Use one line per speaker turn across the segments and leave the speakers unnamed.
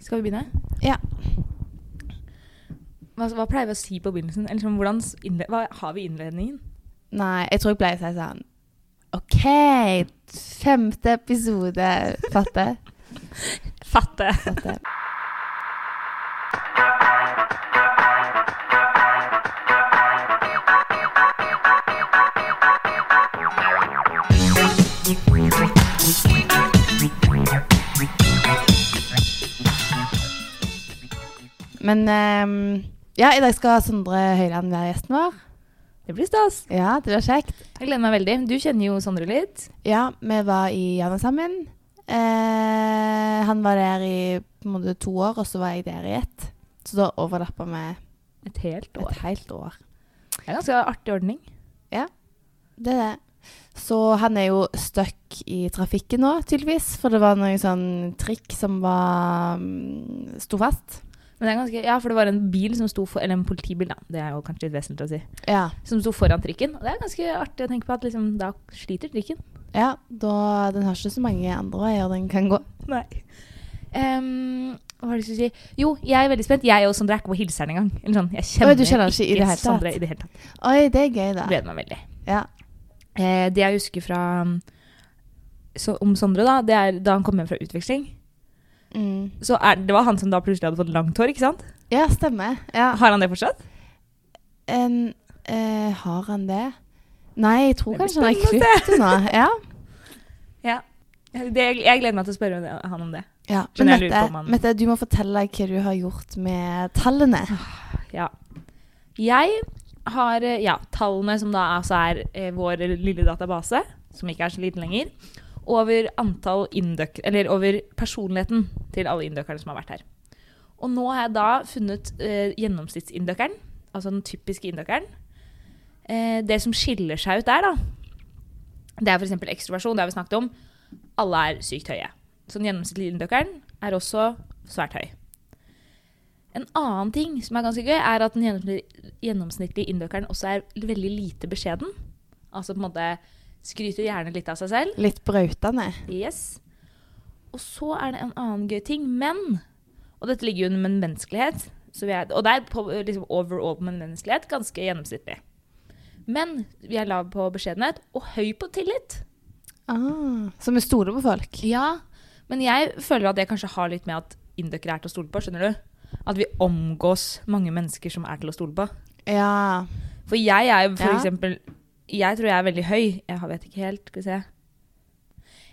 Skal vi begynne?
Ja.
Hva, hva pleier vi å si på begynnelsen? Eller sånn, hvordan s- innle hva har vi i innledningen?
Nei, jeg tror jeg pleier å si sånn OK, femte episode. Fatte?
Fatte.
Fatte. Men ehm, ja, i dag skal Sondre Høiland være gjesten vår.
Det blir stas.
Ja, det blir kjekt.
Jeg gleder meg veldig. Du kjenner jo Sondre litt.
Ja, vi var i Jana sammen. Eh, han var der i på en måte, to år, og så var jeg der i ett. Så da overlappa vi
Et helt år.
et helt år.
Det er en ganske artig ordning.
Det er det. Så han er jo stuck i trafikken nå, tydeligvis. For det var noe sånn trikk som var mm, sto fast.
Men det er ganske, ja, for det var en bil som sto for, eller en politibil, da. Det er jo kanskje litt vesentlig å si.
Ja.
Som sto foran trikken. Og det er ganske artig å tenke på at liksom, da sliter trikken.
ja da, den har ikke så mange andre veier den kan gå.
Nei. hva var det jeg skulle si? Jo, jeg er veldig spent. Jeg og Sondre er ikke på hilseren engang. Eller sånn, jeg
Oi,
kjenner
du kjenner ikke i det hele tatt?
Sondre i det hele tatt.
Oi, det er gøy, da.
Gleder meg veldig.
Ja.
Eh, det jeg husker fra um, så, om Sondre, da, det er da han kom hjem fra utveksling.
Mm.
Så er, det var han som da plutselig hadde fått langt hår, ikke sant?
ja, stemmer. Ja.
Har han det fortsatt?
En, eh, har han det? Nei, jeg tror
Det blir
kanskje han har
spennende
klippet det nå. Ja.
Det, jeg gleder meg til å spørre om det- han om det.
ja.
Men
Men
jeg lurer
Mette,
på om han-
Mette, du må fortelle hva du har gjort med tallene.
Ja. Jeg har eh, ja, tallene som da altså er eh, vår lille database, som ikke er så liten lenger, over antall indøk, eller over personligheten til alle indøkerne som har vært her. Og nå har jeg da funnet eh, gjennomsnittsindøkeren, altså den typiske indøkeren. Eh, det som skiller seg ut der, da, det er f.eks. ekstroversjon, det har vi snakket om. Alle er sykt høye. Så den gjennomsnittlige indøkeren er også svært høy. En annen ting som er ganske gøy, er at den gjennomsnittlige, gjennomsnittlige indøkeren også er veldig lite beskjeden. Altså på en måte skryter gjerne litt av seg selv.
Litt brautende.
Yes. Og så er det en annen gøy ting, men Og dette ligger jo under med menneskelighet, så vi er, og det er på, liksom overall med menneskelighet ganske gjennomsnittlig. Men vi er lav på beskjedenhet og høy på tillit.
Ah, så vi stoler på folk.
Ja, men jeg føler at det kanskje har litt med at indøkere er til å stole på, skjønner du? At vi omgås mange mennesker som er til å stole på.
Ja.
For jeg er jo for
Ja.
eksempel Jeg tror jeg er veldig høy. Jeg har- vet ikke helt. Skal vi se.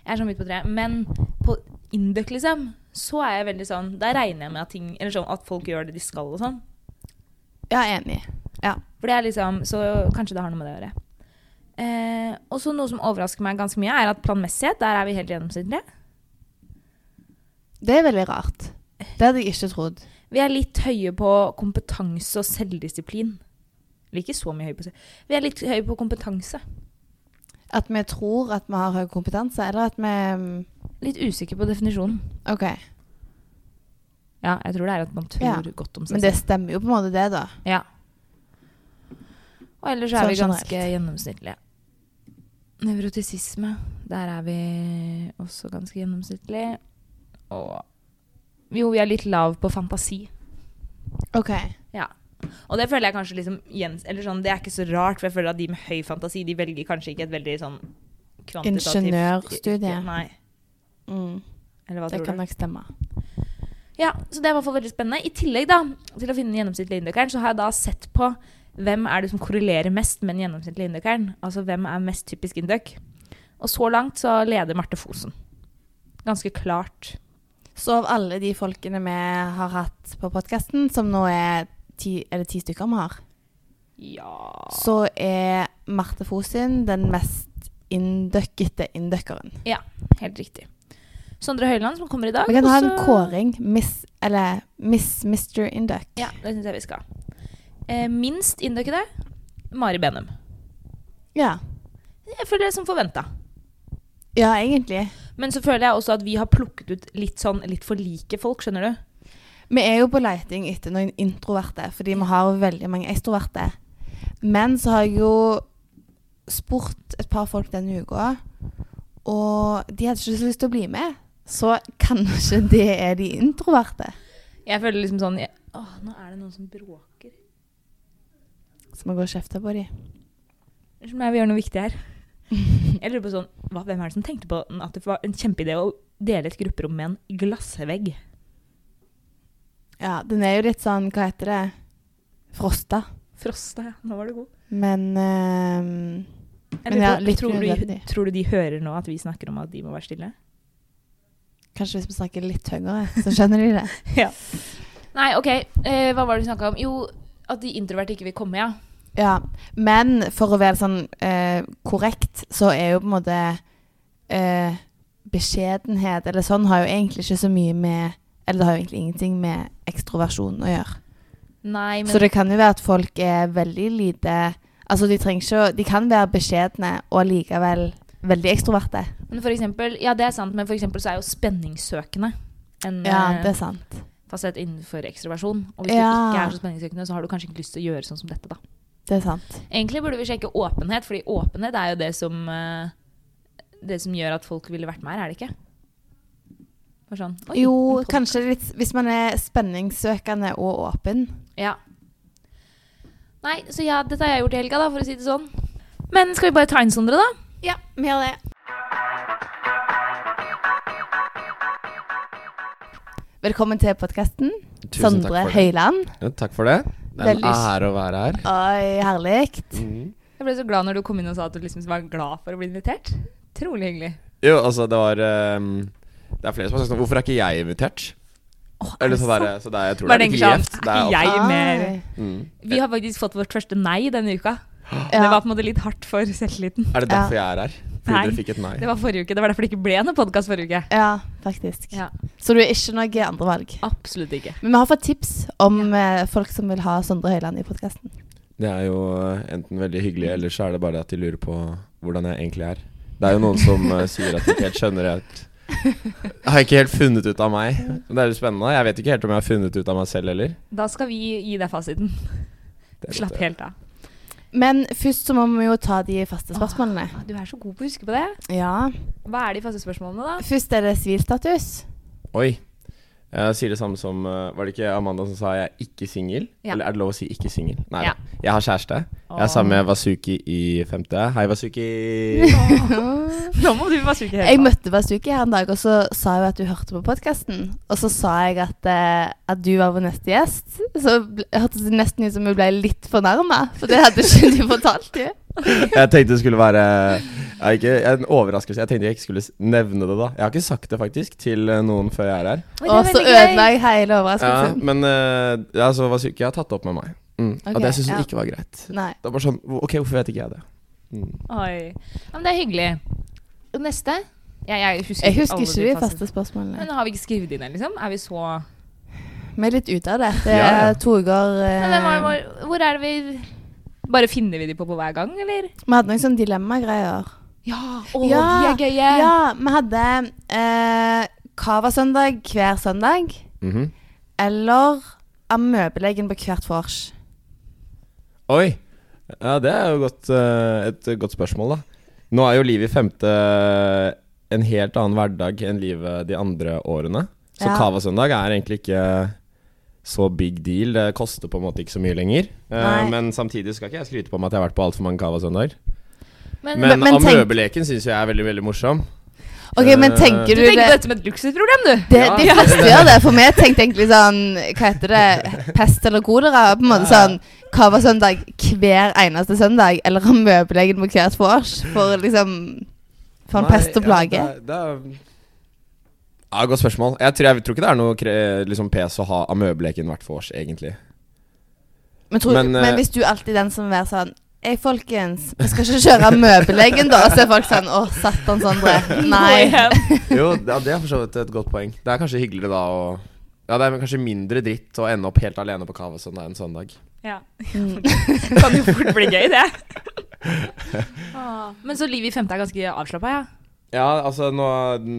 Jeg er sånn midt på treet. Men på Induc, liksom, så er jeg veldig sånn Der regner jeg med at, ting, eller sånn, at folk gjør det de skal og sånn.
Ja, enig.
For det er liksom Så kanskje det har noe med det å gjøre. Eh, og så noe som overrasker meg ganske mye, er at planmessighet, der er vi helt gjennomsnittlige.
Det er veldig rart. Det hadde jeg ikke trodd.
Vi er litt høye på kompetanse og selvdisiplin. Eller ikke så mye høye på selv- Vi er litt høye på kompetanse.
At vi tror at vi har høy kompetanse, eller at vi mm,
Litt usikker på definisjonen.
OK.
Ja, jeg tror det er at man tror
Ja,
godt om seg
Men det stemmer jo på en måte, det, da.
Ja. Og ellers så
Sånn
er vi ganske
generelt.
gjennomsnittlige. Nevrotisisme, der er vi også ganske gjennomsnittlige. Og jo, vi er litt lav på fantasi.
OK.
Og det føler jeg kanskje liksom gjens- Eller sånn, det er ikke så rart, for jeg føler at de med høy fantasi, de velger kanskje ikke et veldig sånn kvantitativt
Ingeniørstudie.
Nei.
Mm,
Eller hva
det
tror du?
kan nok stemme.
Ja, så det er i hvert fall veldig spennende. I tillegg da, til å finne den gjennomsnittlige indøkeren, så har jeg da sett på hvem er det som korrelerer mest med den gjennomsnittlige indøkeren. Altså hvem er mest typisk indøk. Og så langt så leder Marte Fosen. Ganske klart.
Så av alle de folkene vi har hatt på podkasten, som nå er ti, er det ti stykker vi har,
Ja
så er Marte Fosin den mest inndøkkete inndøkkeren.
Helt riktig. Sondre Høiland som kommer i dag.
Vi kan ha en
også-
kåring. Miss, eller Miss Mr. Induck.
Ja, det syns jeg vi skal. Eh, minst indøkede Mari Benum.
Ja.
Jeg føler det er som forventa.
Ja, egentlig.
Men så føler jeg også at vi har plukket ut litt sånn litt for like folk, skjønner du.
Vi er jo på leiting etter noen introverte, fordi vi har jo veldig mange ekstroverte. Men så har jeg jo spurt et par folk denne uka, og de hadde ikke så lyst til å bli med. så kanskje det er de introverte.
Jeg føler liksom sånn jeg, Åh, nå er det noen som bråker.
Så må jeg gå og kjefte på de.
Unnskyld meg, vi gjør noe viktig her. Jeg lurer på sånn hva, Hvem er det som tenkte på den- at det var en kjempeidé å dele et grupperom med en glassvegg?
Ja, den er jo litt sånn, hva heter det? Frosta.
Frosta, ja. Nå var du god.
Men ehm,
Jeg
Men
lurer
ja,
på,
litt
tror, du,
unødvendig.
tror du de hører nå at vi snakker om at de må være stille?
kanskje hvis vi snakker litt høyere, så skjønner de det.
Nei, OK. Eh, hva var det du snakka om? Jo, at de introverte ikke vil komme, ja.
Ja, men for å være sånn eh, korrekt, så er jo på en måte eh, beskjedenhet eller sånn har jo egentlig ikke så mye med Eller det har jo egentlig ingenting med ekstroversjon å gjøre.
Nei, men
Så det kan jo være at folk er veldig lite Altså de trenger ikke å De kan være beskjedne og likevel veldig ekstroverte.
Men for eksempel, ja det er sant, men for eksempel så er jo spenningssøkende en
Mm. Ja,
eh,
det er sant.
fasett innenfor ekstroversjon. Og hvis du
Ja.
ikke er så spenningssøkende, så har du kanskje ikke lyst til å gjøre sånn som dette, da.
Det er sant.
Egentlig burde vi sjekke åpenhet, fordi åpenhet er jo det som eh, Det som gjør at folk ville vært med her, er det ikke? Bare sånn oi,
Jo,
en pod-
kanskje litt Hvis man er spenningssøkende og åpen.
Ja. Nei, så ja, dette har jeg gjort i helga, da, for å si det sånn. Men skal vi bare ta inn Sondre, da?
Ja, vi gjør det. Velkommen til podkasten.
Tusen
Sondre
takk for det.
Høiland.
Ja, takk for det. Det er en
Veldig-
ære å være her.
Oi, herlig.
Mm.
Jeg ble så glad når du kom inn og sa at du liksom var glad for å bli invitert. Trolig hyggelig.
Jo, altså, det var ehm, Det er flere som har sagt sånn Hvorfor er ikke jeg invitert?
Åh, er
Eller
det
så
sant?
bare, så det er, jeg tror
Bare
det er
tenker
litt
sånn,
gjevt. Det er
jeg-
alt-
Nei, mer.
Oi.
Mm.
Vi har faktisk fått vårt første nei denne uka.
Ja.
Det var på en måte litt hardt for selvtilliten.
Er det derfor jeg er her? Fordi
Nei.
dere fikk et nei?
Det var forrige uke, det var derfor det ikke ble noen podkast forrige uke.
ja, faktisk.
Ja.
Så du er ikke noe andrevalg.
Absolutt ikke.
Men vi har fått tips om eh, folk som vil ha Sondre Høiland i podkasten.
Det er jo eh, enten veldig hyggelig, eller så er det bare at de lurer på hvordan jeg egentlig er. Det er jo noen som eh, sier at de ikke helt skjønner helt Har ikke helt funnet ut av meg. Det er jo spennende. Jeg vet ikke helt om jeg har funnet ut av meg selv heller.
Da skal vi gi deg fasiten.
Det er litt,
Slapp
eh,
helt av.
Men først så må vi jo ta de faste spørsmålene.
Du er så god på å huske på det.
Ja.
Hva er de faste spørsmålene, da?
Først er det sivilstatus.
Oi. Jeg sier det samme som eh, Var det ikke Amanda som sa 'jeg er ikke singel'?
Ja.
Eller er det lov å si 'ikke singel'? Nei.
Ja.
da. Jeg har kjæreste. Jeg er sammen med Wasuki i femte. Hei, Wasuki.
Nå må du være syk i
Jeg
hele tatt.
møtte Basuki her en dag, og så sa hun at du hørte på podkasten. Og så sa jeg at, eh, at du var vår neste gjest. Så ble- hørtes det nesten ut som hun ble litt fornærma, for det hadde ikke du fortalt henne.
Jeg tenkte det skulle være jeg er ikke, en overraskelse. Jeg tenkte jeg ikke skulle s- nevne det, da. Jeg har ikke sagt det faktisk til eh, noen før jeg er her.
Oi, det er
Og så
veldig gøy.
ødela jeg hele
Ja,
overraskelsen.
men eh, altså, Wasuki har tatt det opp med meg. Mm.
Ok,
og det syns hun
ja.
ikke var greit.
Nei.
Det var bare sånn Ok, hvorfor vet ikke jeg det? Mm.
Oi. Ja, men det er hyggelig. Og Neste? Ja, jeg husker,
Jeg husker
alle
ikke de
faste-
faste spørsmålene.
Men har vi ikke skrevet inn det, liksom? Er vi så
Vi er litt ute av det. Det
Ja, ja.
er to uker eh,
Men hvem er, hvor, hvor er det vi Bare finner vi de på på hver gang, eller?
Vi hadde noen sånne dilemmagreier.
Ja! Å,
Ja,
de er gøye!
Ja, vi hadde eh, Cava-søndag hver søndag.
Mhm.
Eller amøbeleggen på hvert vors.
Oi. Ja, det er jo godt, eh, et godt spørsmål, da. Nå er jo livet i femte eh, en helt annen hverdag enn livet de andre årene. Så
Ja.
Cava-søndag er egentlig ikke så big deal. Det koster på en måte ikke så mye lenger. Eh,
Nei.
men samtidig skal ikke jeg skryte på meg at jeg har vært på altfor mange Cava-søndager.
Men,
Men,
men tenk-
amøbeleken syns jo jeg er veldig, veldig morsom.
Ok, men
Eh,
tenker
du
du
tenker på
det
dette som et luksusproblem, du?
Det,
Ja.
de fleste gjør det, for vi tenkte egentlig sånn Hva heter det? Pest eller kolera? På en måte sånn Cava-søndag hver eneste søndag, eller amøbelegen på hvert vors. For liksom For en
Nei,
pest og
ja,
plage.
det er- det er- Ja, Godt spørsmål. Jeg tror, jeg tror ikke det er noe kre, liksom pes å ha amøbeleken hvert for oss, egentlig.
Men, tror, men,
men, eh,
hvis du alltid er den som er sånn Ei, folkens, vi skal ikke kjøre amøbelegen, da? Og så er folk sånn Å, satan, Sondre. Nei.
Jo, ja, det er for så vidt et godt poeng. Det er kanskje hyggeligere da å Ja, det er kanskje mindre dritt å ende opp helt alene på kava søndag en søndag.
ja.
Mm.
Det kan jo fort bli gøy, det. Ah, Men så livet i femte er ganske avslappa, ja?
Ja, altså nå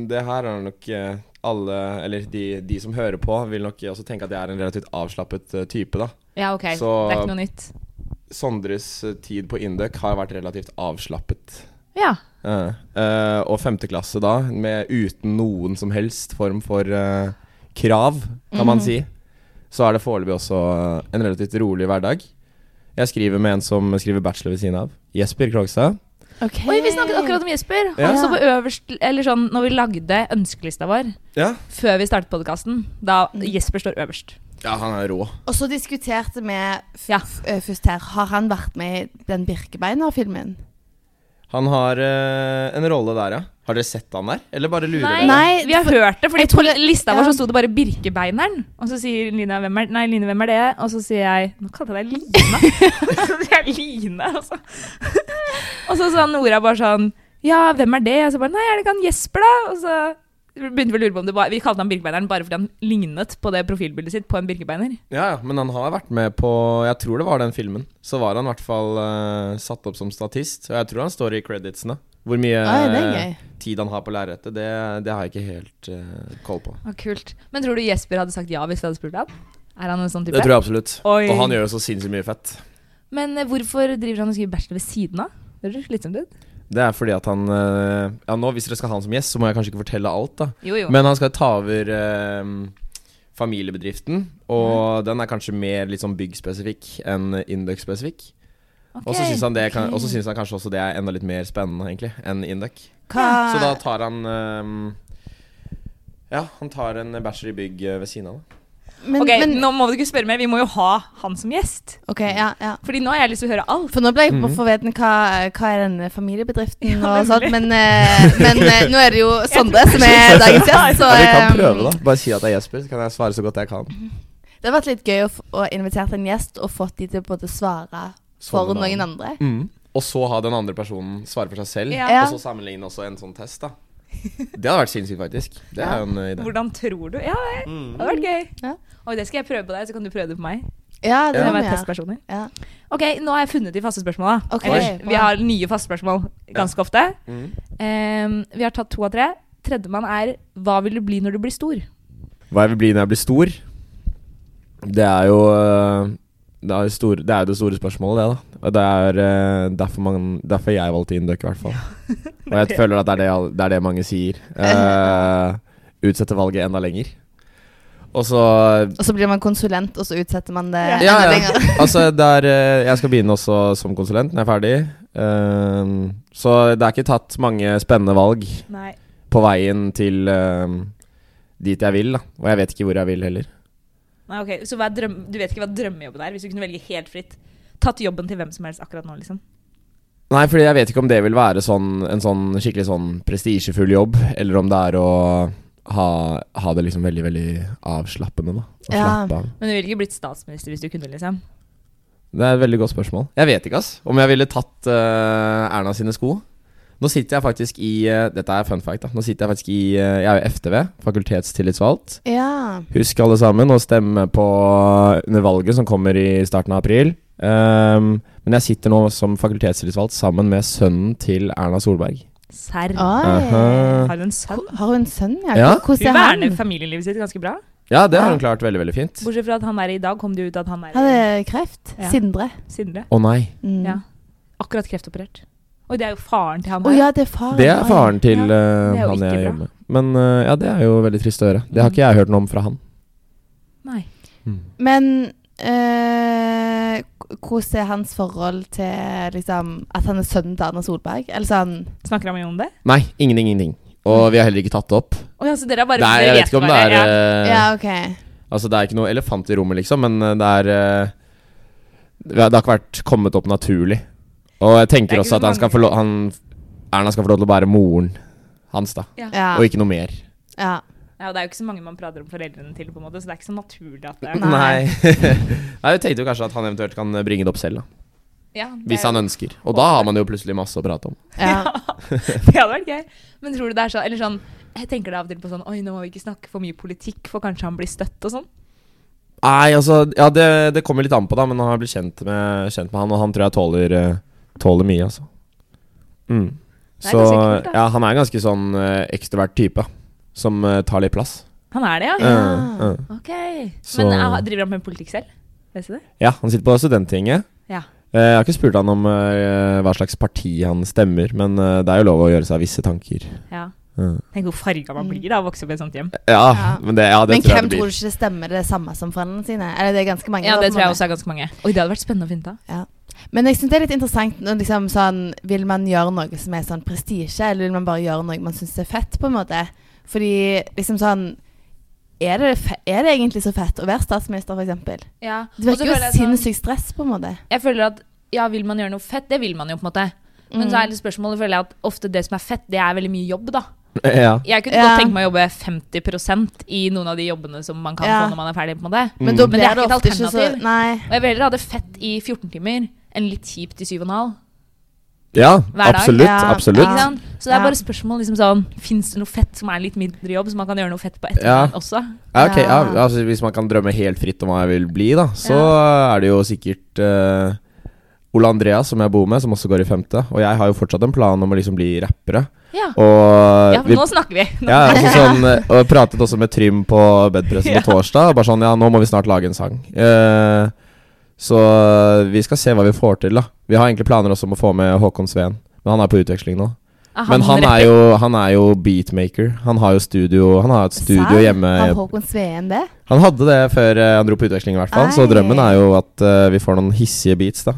Det her er nok eh, alle, eller de, de som hører på, vil nok også tenke at jeg er en relativt avslappet eh, type, da.
Ja, ok.
Så-
Det er ikke noe nytt.
Sondres eh, tid på Induc har vært relativt avslappet.
Ja.
Ja. Eh, og femte klasse da, med uten noen som helst form for eh, krav, kan man
Mhm.
si, så er det foreløpig også eh, en relativt rolig hverdag. Jeg skriver med en som skriver bachelor ved siden av. Jesper Krogstad.
Okay.
Oi, vi snakket akkurat om Jesper. Han
Ja.
så på øverst Eller sånn når vi lagde ønskelista vår
Ja.
før vi startet podkasten, da Jesper står øverst.
ja, han er rå.
Og så diskuterte vi f
Ja.
f- eh, først her Har han vært med i den Birkebeiner-filmen?
Han har eh, en rolle der, ja. Har dere sett han der? Eller bare lurer
Nei,
dere?
Nei,
vi har
for-
hørt det, Fordi
jeg tror det-
på lista
ja.
vår så sto det bare 'Birkebeineren'. Og så sier Lina hvem er, nei, Line, hvem er det? Og så sier jeg Nå kalte jeg deg Lina. Og så sier jeg Line, altså. Og så sa Nora bare sånn Ja, hvem er det? Og så bare Nei, er det ikke han Jesper, da? Og så begynte vi å lure på om det var Vi kalte han Birkebeineren bare fordi han lignet på det profilbildet sitt på en birkebeiner.
Ja, ja, men han har vært med på Jeg tror det var den filmen. Så var han i hvert fall eh, satt opp som statist. Og jeg tror han står i creditsene. Hvor mye
Oi, det er
eh,
gøy.
tid han har på lerretet, det, det har jeg ikke helt uh, koll på.
Å, kult. Men tror du Jesper hadde sagt ja hvis vi hadde spurt han? Er han en sånn type?
Det tror jeg absolutt.
Oi.
Og han gjør jo så sinnssykt mye fett.
Men eh, hvorfor driver han og skriver bachelor ved siden av? Det høres slitsomt ut.
Det er fordi at han eh, Ja, nå hvis dere skal ha han som gjest, så må jeg kanskje ikke fortelle alt, da.
Jo, jo.
Men han skal ta over eh, familiebedriften, og den er kanskje mer litt sånn byggspesifikk enn Induc-spesifikk. Og så syns han, det kan- og så syns han kanskje også det er enda litt mer spennende, egentlig, enn Induc. Så da
Hva,
tar han ehm, Ja, han tar en bachelor i bygg eh, ved siden av. da.
men,
ok,
men,
nå må du ikke spørre mer. Vi må jo ha han som gjest.
ok, ja, ja.
Fordi nå har jeg lyst til å høre alt.
For nå ble jeg på
Mhm.
forveden hva, hva er denne familiebedriften
Ja,
og sånt,
nemlig.
men, eh, men eh, nå er det jo Sondre som er dagens gjest, så
Ja, vi kan
eh,
prøve, da. Bare si at det er Jesper, så kan jeg svare så godt jeg kan.
det har vært litt gøy å, f å invitere en gjest og fått de til å både svare
Som
for
en
noen
annen.
andre.
Mm. Og så ha den andre personen svare for seg selv,
Ja.
og så sammenligne også en sånn test, da. Det hadde vært sinnssykt, faktisk. Det Mm. er jo en eh, idé.
Hvordan tror du Ja, det hadde vært gøy.
Ja.
Og det skal jeg prøve på deg, så kan du prøve det på meg.
Ja, det
Kan jeg
må vi
være
gjøre.
testpersoner?
Ja.
Ok, nå har jeg funnet de faste spørsmåla.
Ok, bra.
vi har nye faste spørsmål ganske ofte.
Mm.
Ehm, vi har tatt to av tre. Tredjemann er hva vil du bli når du blir stor?
Hva jeg vil bli når jeg blir stor? Det er jo øh, det er, jo store, det er jo det store spørsmålet, det, da. Og det er øh, derfor, man, derfor jeg valgte Induc, i hvert fall. Og jeg føler at det er det, al- det, er det mange sier. Eh, utsette valget enda lenger. Og så
Og så blir man konsulent, og så utsetter man det
Ja.
Ja,
enda
ja.
lenger.
Altså, det er, øh, jeg skal begynne også som konsulent når jeg er ferdig. Eh, så det er ikke tatt mange spennende valg
Nei.
på veien til øh, dit jeg vil, da. Og jeg vet ikke hvor jeg vil heller.
Nei, ok, Så hva er drøm du vet ikke hva drømmejobben er, hvis du kunne velge helt fritt? Tatt jobben til hvem som helst akkurat nå, liksom.
Nei, fordi jeg vet ikke om det vil være sånn, en sånn skikkelig sånn prestisjefull jobb, eller om det er å ha, ha det liksom veldig, veldig avslappende, da. Å
Ja.
slappe av.
Men du ville ikke blitt statsminister hvis du kunne, liksom?
Det er et veldig godt spørsmål. Jeg vet ikke, ass. Om jeg ville tatt eh, Erna sine sko. Nå sitter jeg faktisk i eh, Dette er fun fact, da. Nå sitter jeg faktisk i eh, Jeg er jo FTV, fakultetstillitsvalgt.
Ja.
Husk alle sammen å stemme på eh, under valget som kommer i starten av april. Ehm, men jeg sitter nå som fakultetstillitsvalgt sammen med sønnen til Erna Solberg.
Serr.
Ah.
Aha.
Oi.
Har du en sønn?
Har hun en sønn, ja?
Ja.
Hun
Hvordan er han?
verner familielivet sitt ganske bra.
Ja, det har
Ja.
hun klart veldig, veldig fint.
Bortsett fra at han er i dag, kom det ut at han er
Han er kreft.
Ja.
Sindre.
Sindre.
Å nei.
Mm.
Ja. Akkurat kreftoperert. Og det er jo faren til han
Å
her.
ja, det er faren.
Det er
Oi.
faren til
Ja,
eh,
det er jo
han
ikke bra.
jeg
Mm.
jobber med. Men eh, ja, det er jo veldig trist å høre. Det har ikke jeg hørt noe om fra han.
Nei.
Men eh, k- hvordan er hans forhold til liksom, at han er sønnen til Erna Solberg? Eller sånn
Snakker han mye om det?
Nei, ingenting, ingenting. Og vi har heller ikke tatt det opp.
Å ja, så dere er bare
Det er, jeg vet ikke om det er
bare- ja.
eh,
Ja, OK.
Altså, det er ikke noe elefant i rommet, liksom, men eh, det er eh, Det har det har ikke vært kommet opp naturlig. Og jeg
Det er
tenker
ikke
også
så
at han skal
mange-
få lov han, Erna skal få lov til å bære moren hans, da.
Ja.
Og ikke noe mer.
ja.
ja, og Det er jo ikke så mange man prater om foreldrene til, på en måte, så det er ikke så naturlig at det er
Nei.
Nei. Nei, Jeg tenkte jo kanskje at han eventuelt kan bringe det opp selv, da.
Ja, det
Hvis
er-
han ønsker. Og da har man jo plutselig masse å prate om.
ja.
Det hadde vært gøy. Men tror du det er sånn Eller sånn Jeg tenker det av og til på sånn Oi, nå må vi ikke snakke for mye politikk, for kanskje han blir støtt og sånn.
Nei, altså Ja, det, det kommer litt an på, da, men han har blitt kjent med, kjent med han, og han tror jeg tåler, eh, tåler mye, altså. Mm.
Det er
Så
ganske kult, da.
ja, han er en ganske sånn eh, ekstrovert type, som eh, tar litt plass.
Han er det, ja?
Ah, Ja.
Eh, eh.
Ok. ah,
Så-
Men eh, driver han med politikk selv? Vet du det?
Ja, han sitter på studenttinget.
Ja.
Eh, Jeg har ikke spurt han om eh, hva slags parti han stemmer, men eh, det er jo lov å gjøre seg visse tanker.
Ja.
Ja,
Tenk hvor farga
Mm.
man blir da av å vokse opp i et sånt hjem.
Ja.
men det, ja, det
Men
tror jeg
hvem
det
tror du
blir.
ikke det stemmer det samme som foreldrene sine? Eller det er ganske mange.
Ja,
da,
Det
på
tror
en
jeg
måte.
også er ganske mange. Oi, det hadde vært spennende å finne ut av.
Men jeg synes det er litt interessant når liksom sånn Vil man gjøre noe som er sånn prestisje, eller vil man bare gjøre noe man syns er fett, på en måte? Fordi liksom sånn Er det, fe- er det egentlig så fett å være statsminister, f.eks.?
Ja.
Det virker jo sinnssykt stress, på en måte.
sånn- Jeg føler at ja, vil man gjøre noe fett? Det vil man jo, på en måte. Men så er litt spørsmålet føler jeg at ofte det som er fett, det er veldig mye jobb, da.
Ja.
Jeg kunne
Ja.
godt tenke meg å jobbe 50 i noen av de jobbene som man kan
Ja.
få når man er ferdig. på en måte.
Men da
Mm. Men det
Mm.
blir
er
det,
ikke et
ofte ikke så
alternativ.
Nei.
Og jeg vil heller ha det fett i 14 timer enn litt kjipt i 7,5.
ja,
dag.
absolutt.
Ja.
absolutt.
Ikke
Ja.
sant? Så det er
Ja.
bare spørsmål liksom sånn Fins det noe fett som er litt mindre jobb, så man kan gjøre noe fett på
Ja.
ettermiddagen også?
Ja, ok, ja,
Ja.
altså, hvis man kan drømme helt fritt om hva jeg vil bli, da, så er det jo sikkert eh, Ole Andreas, som jeg bor med, som også går i femte. Og jeg har jo fortsatt en plan om å liksom bli rappere.
Ja.
Og eh,
ja, for
vi-
nå snakker vi. Nå.
ja, altså sånn, eh, og jeg pratet også med Trym på bedpressen
Ja.
på torsdag. og Bare sånn, ja, nå må vi snart lage en sang. Eh, så vi skal se hva vi får til, da. Vi har egentlig planer også om å få med Håkon Sveen, men han er på utveksling nå.
Ah,
Men han er
rapper.
jo, han er jo beatmaker. Han har jo studio Han har et studio
Serr?
hjemme
Har Håkon Sveen det?
han hadde det før eh, han dro på utveksling, i hvert fall. Så
Ei.
drømmen er jo at eh, vi får noen hissige beats, da.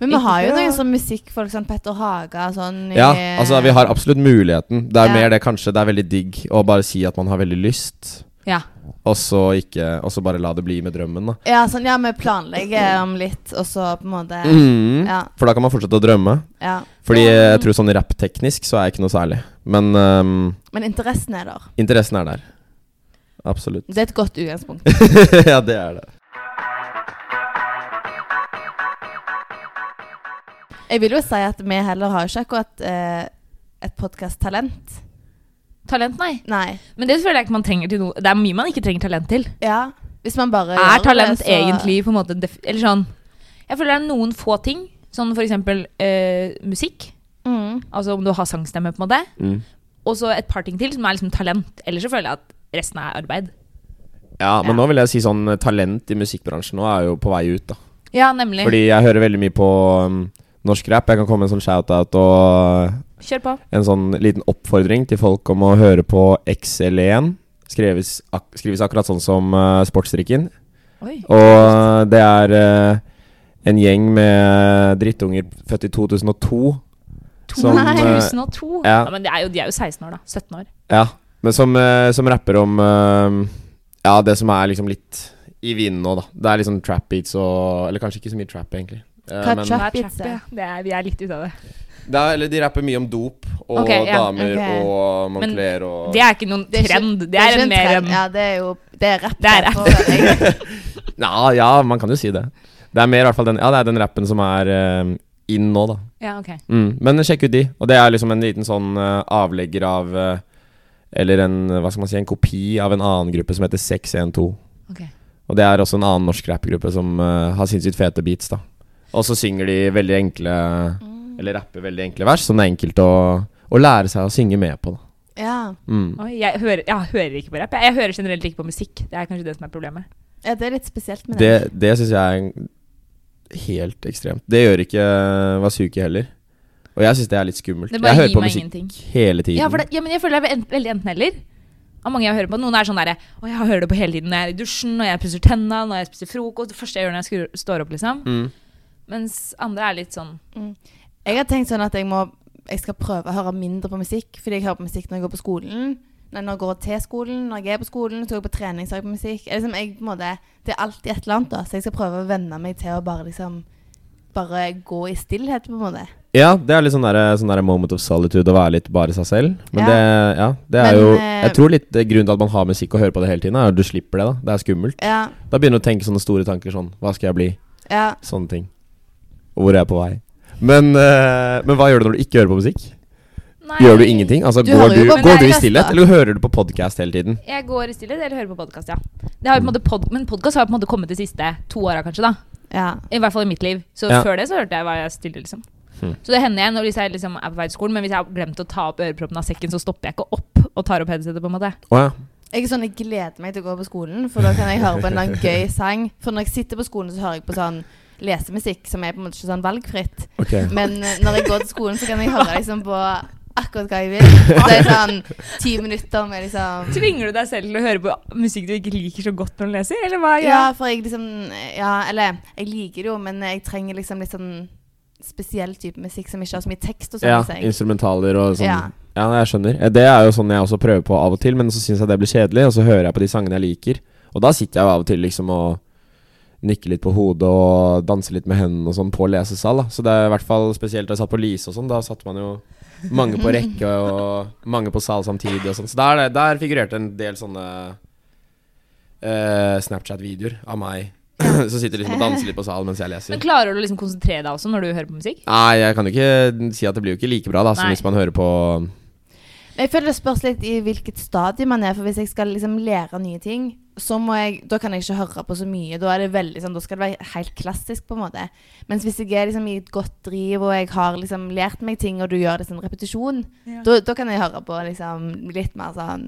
Men vi
Ikke
har jo
bra.
noen sånn musikkfolk, sånn Petter Haga sånn i-
Ja, altså vi har absolutt muligheten. Det er
Ja.
mer det kanskje det er veldig digg å bare si at man har veldig lyst,
Ja.
og så ikke Og så bare la det bli med drømmen, da.
Ja, sånn, ja, vi planlegger om litt, og så på en måte
Mm.
Ja.
For da kan man fortsette å drømme.
ja.
Fordi jeg tror sånn rappteknisk så er jeg ikke noe særlig. Men ehm,
Men interessen er der.
interessen er der. Absolutt.
Det er et godt utgangspunkt.
ja, det er det.
Jeg vil jo si at vi heller har jo ikke akkurat eh, et podkast-talent.
Talent, nei.
Nei.
Men det føler jeg ikke man trenger til noe. Det er mye man ikke trenger talent til.
Ja. Hvis man bare gjør
Er talent
det, så-
egentlig på en måte def Eller sånn Jeg føler det er noen få ting, sånn for eksempel eh, musikk.
mm.
Altså om du har sangstemme, på en måte.
Mm.
Og så et par ting til som er liksom talent. Ellers så føler jeg at resten er arbeid.
Ja, men
Ja.
nå vil jeg si sånn eh, talent i musikkbransjen nå er jo på vei ut, da.
Ja, nemlig.
Fordi jeg hører veldig mye på um, norsk rap. Jeg kan komme med en sånn shout-out og
Kjør på.
en sånn liten oppfordring til folk om å høre på XL1. Skrives, ak skrives akkurat sånn som uh, Sportsdrikken.
Oi.
Og uh, det er eh, en gjeng med drittunger født i 2002. Som, eh,
2002?
ja.
Ja. men det er jo, de er jo 16 år, da. 17 år.
Ja, men som, eh, som rapper om eh, Ja, det som er liksom litt i vinden nå, da. Det er liksom trap beats og Eller kanskje ikke så mye trap, egentlig. Eh,
Hva er
men-
trap?
Det er
Pizza.
trappet, ja. Det er, vi er litt ute av det.
Det er, eller de rapper mye om dop og
Ok, ja,
damer
ok.
og
Men
Moncler og
Det er ikke noen
Det er ikke-
trend. Det er
ikke
en mer
trend. Ja, det er jo Det er rapp.
Det er
da,
rapp.
for- jeg-
Ja, ja, man kan jo si det. Det er mer i hvert fall den Ja, det er den rappen som er eh, inn nå, da.
Ja, ok.
Mm. Men sjekk ut de. Og det er liksom en liten sånn eh, avlegger av eh, Eller en hva skal man si, en kopi av en annen gruppe som heter 612.
Ok.
Og det er også en annen norsk rappgruppe som eh, har sinnssykt fete beats, da. Og så synger de veldig enkle
Mm.
Eller rapper veldig enkle vers, som det er enkelt å, å lære seg å synge med på, da.
ja.
Mm.
Oi, jeg, hører, jeg hører ikke på rap. Jeg, jeg hører generelt ikke på musikk. Det er kanskje det som er problemet.
ja, det er litt spesielt med
Det,
det.
det syns jeg er en- helt ekstremt. Det gjør ikke Wasuki heller. Og jeg syns det er litt skummelt.
Det
Jeg
bare
hører
gir
på
meg
musikk
ingenting.
hele tiden.
Ja, for det, ja, men jeg føler jeg er en- veldig enten-eller. Av mange jeg hører på. Noen er sånn derre Å, jeg hører det på hele tiden når jeg er i dusjen, når jeg pusser tenna, når jeg spiser frokost. Det første jeg gjør når jeg skrur, står opp, liksom.
Mm.
Mens andre er litt sånn
Mm. Jeg har tenkt sånn at jeg må Jeg skal prøve å høre mindre på musikk, fordi jeg hører på musikk når jeg går på skolen. Nei, når jeg går til skolen, når jeg er på skolen, så går jeg på trening, så hører jeg på musikk. Jeg, liksom, jeg, på en måte, det er alltid et eller annet, da. Så jeg skal prøve å venne meg til å bare liksom Bare gå i stillhet, på en måte.
Ja, det er litt sånn derre sånn derre moment of solitude å være litt bare seg selv.
Ja.
Men det, ja, det
Men,
er jo
eh,
Jeg tror litt eh, grunnen til at man har musikk og hører på det hele tiden, er at du slipper det, da. Det er skummelt.
Ja,
Da begynner du å tenke sånne store tanker sånn Hva skal jeg bli?
ja.
Sånne ting. Og hvor er jeg på vei? Men, eh, men hva gjør du når du ikke hører på musikk?
Nei,
Gjør du ingenting? Altså,
Du
går,
hører jo
du,
på
går du i
podcast,
stillhet,
da.
eller hører du på podkast hele tiden?
Jeg går i stillhet eller hører på podkast, ja. Det har jo på en måte pod men podkast har jo på en måte kommet de siste to åra, kanskje. da
ja.
I hvert fall i mitt liv. Så
Ja.
før det så hørte jeg hva jeg stille, liksom.
Hmm.
Så det hender jeg når hvis jeg liksom er på vei til skolen, men hvis jeg har glemt å ta opp øreproppen av sekken, så stopper jeg ikke opp og tar opp headsetet, på en måte.
Å ja.
Jeg er sånn, jeg gleder meg til å gå på skolen, for da kan jeg høre på en eller annen gøy sang. For når jeg sitter på skolen, så hører jeg på sånn lesemusikk, som er på en måte ikke sånn valgfritt.
Ok.
Men eh, når jeg går til skolen, så kan jeg høre liksom på akkurat hva jeg vil. Så det er sånn ti minutter med liksom
Tvinger du deg selv til å høre på musikk du ikke liker så godt når du leser, eller hva?
Ja, for jeg liksom Ja, eller jeg liker det jo, men jeg trenger liksom litt sånn spesiell type musikk som ikke har så mye tekst og sånn
Ja,
i seg.
instrumentaler og sånn. Ja.
Ja.
jeg skjønner. Eh, Det er jo sånn jeg også prøver på av og til, men så syns jeg det blir kjedelig, og så hører jeg på de sangene jeg liker. Og da sitter jeg jo av og til liksom og nikker litt på hodet og danser litt med hendene og sånn på lesesal. Da. Så det er i hvert fall spesielt da jeg satt på Lise og sånn, da satt man jo mange på rekke og mange på sal samtidig og sånn. Så der, er det- der figurerte en del sånne eh, Snapchat-videoer av meg som sitter liksom og danser litt på salen mens jeg leser.
Men klarer du å liksom konsentrere deg også når du hører på musikk?
Nei, jeg kan jo ikke si at det blir jo ikke like bra da som
Nei.
hvis man hører på
Men Jeg føler det spørs litt i hvilket stadie man er, for hvis jeg skal liksom lære nye ting, så må jeg, da kan jeg ikke høre på så mye. Da er det veldig sånn, da skal det være helt klassisk, på en måte. Mens hvis jeg er liksom i et godt driv, og jeg har liksom lært meg ting, og du gjør det som repetisjon, da, da kan jeg høre på liksom litt mer sånn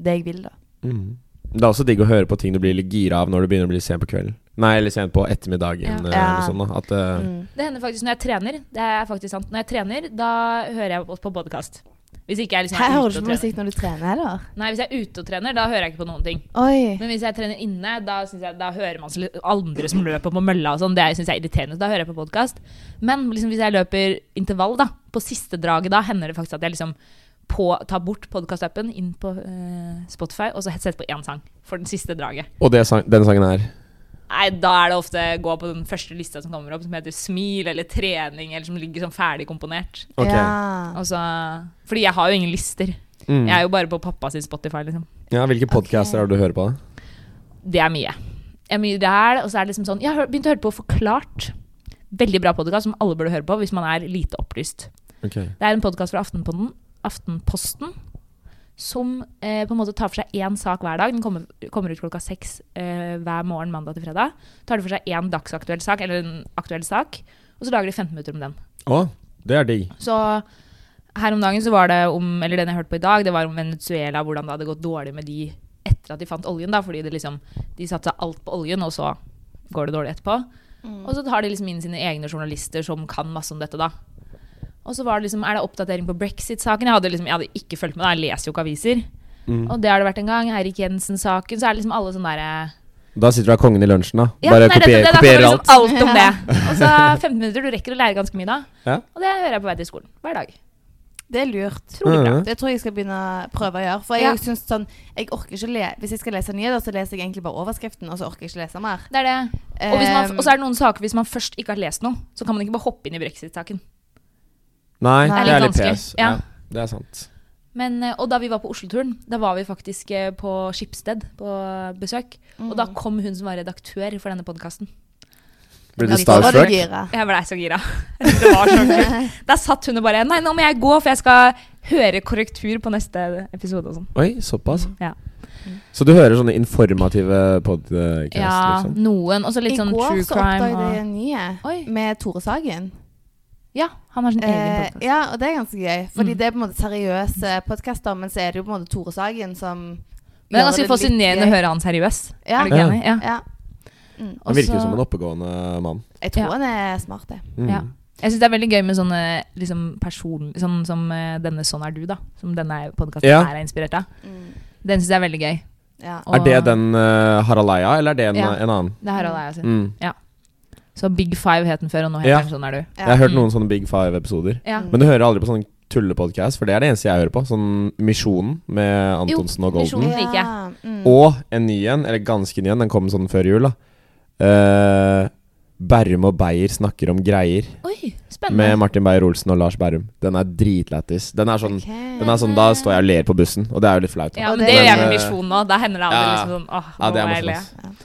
det jeg vil, da.
Det er også digg å høre på ting du blir litt gira av når du begynner å bli sen på kvelden. Nei, eller sent på ettermiddagen.
Ja.
eller
Ja.
noe sånt, da. At, eh,
Mm.
Det hender faktisk når jeg trener. Det er faktisk sant. Når jeg trener, da hører jeg på- på podkast. Hvis ikke jeg liksom
Her
er ute
hører du
og
ikke på
trener.
musikk når du trener, eller?
Nei, hvis jeg er ute og trener, da hører jeg ikke på noen ting.
Oi.
Men hvis jeg trener inne, da, synes jeg, da hører man så litt- andre som løper på mølla og sånn. Det syns jeg er irriterende, så da hører jeg på podkast. Men liksom, hvis jeg løper intervall, da, på siste draget, da hender det faktisk at jeg liksom på, tar bort podkastappen, inn på eh, Spotify, og så setter på én sang for den siste draget.
og det sang, den sangen her.
Nei, da er det ofte gå på den første lista som kommer opp, som heter smil eller trening, eller som ligger sånn ferdig komponert.
Ok.
Ja.
Altså, fordi jeg har jo ingen lister.
Mm.
Jeg er jo bare på pappa sin Spotify, liksom.
Ja, hvilke podcaster har du hører på? da?
Det er mye. Det er mye der, og så er det liksom sånn Jeg har hør- begynt å høre på Forklart. Veldig bra podkast som alle burde høre på hvis man er lite opplyst.
Ok.
Det er en podkast fra Aftenposten, Aftenposten som eh, på en måte tar for seg én sak hver dag. Den kommer, kommer ut klokka seks eh, hver morgen mandag til fredag. Tar de for seg én dagsaktuell sak, eller en aktuell sak, og så lager de 15 minutter om den.
Å, det er digg.
Så her om dagen så var det om, eller den jeg hørte på i dag, det var om Venezuela, hvordan det hadde gått dårlig med de etter at de fant oljen, da, fordi det liksom, de satsa alt på oljen, og så går det dårlig etterpå.
Mm.
Mm.
Og så tar de liksom inn sine egne journalister som kan masse om dette, da. Og så var det liksom, er det oppdatering på brexit-saken? Jeg hadde liksom, jeg hadde ikke fulgt med, da. jeg leser jo ikke aviser.
Mm.
Og det har det vært en gang. Eirik Jensen-saken. Så er det liksom alle sånne derre
Da sitter du og er kongen i lunsjen, da.
ja,
Bare
nei,
kopier,
det, det, det,
kopierer
det,
alt.
liksom alt om det. Og så 15 minutter, du rekker å lære ganske mye da.
Ja.
Og det hører jeg på vei til skolen hver dag.
Det er lurt.
Utrolig bra.
Mhm.
Det tror jeg jeg skal begynne å prøve å gjøre. For jeg
Ja.
synes sånn jeg orker ikke å le Hvis jeg skal lese nyheter, så leser jeg egentlig bare overskriften, og så orker jeg ikke lese mer.
Det er det. Og, hvis man,
Ehm,
og så er det noen saker hvis man først ikke har lest noe, så kan man ikke bare hoppe inn i brexit-saken.
Nei,
Nei.
det er
Litt
litt
vanskelig.
pes. Ja.
Ja.
det er sant.
Men, eh, og da vi var på Oslo-turen, da var vi faktisk eh, på Skipsted på besøk.
Ehm, Mm.
Og da kom hun som var redaktør for denne podkasten.
Blir
Da
du
var
starstruck?
gira.
Jeg blei så gira. Det var så kult. Da satt hun og bare Nei, nå må jeg gå, for jeg skal høre korrektur på neste episode og sånn.
Oi, såpass.
Ja.
Så du hører sånne informative podcasts,
Ja,
liksom?
noen. Og så litt sånn
I går
true
så oppdaget
crime.
jeg
Og,
en ny
Oi.
med Tore Sagen.
ja, han har sin egen Mm.
Eh,
podkast.
ja, og det er ganske gøy. Fordi det er på en måte seriøse podkaster, men så er det jo på en måte Tore Sagen som
Men altså, det er
gjør
ganske
litt
fascinerende
gøy.
å høre han seriøs. Er
Ja.
du ikke enig? Ja.
Ja. Mm.
Og
Han virker jo
så-
som en oppegående mann.
Jeg tror
Ja.
han er smart, det.
Mm.
Ja. Jeg syns det er veldig gøy med sånne liksom, person... Sånn som eh, denne 'Sånn er du', da. Som denne podkasten
Ja.
her er inspirert av.
Mm.
Den syns jeg er veldig gøy.
Ja.
Og
Er det den uh, Haraleia, eller er det en,
Ja.
en annen?
Det er Harald Eia sin.
Mm.
Så Big Five het den før, og nå heter
Ja.
den 'Sånn er du'.
Jeg har hørt
Mm.
noen sånne Big Five-episoder.
Ja.
Mm.
Men du hører aldri på sånn tullepodkast, for det er det eneste jeg hører på. Sånn Misjonen med Antonsen og Golden.
Misjonen. liker jeg.
Ja, mm.
Og en ny en, eller ganske ny en, den kom sånn før jul, da. Eh, Berrum og Beyer snakker om greier.
Oi,
Med
spennende.
Martin Beyer-Olsen og Lars Berrum. Den er dritlættis. Den er sånn,
Ok.
den er sånn Da står jeg og ler på bussen, og det er jo litt flaut. da.
Ja,
Og
men
det-
det gjør jeg med
Men, eh,
Misjon nå. Da hender det aldri
ja.
liksom sånn åh,
Ja,
nå
det er
må jeg le.
morsomt.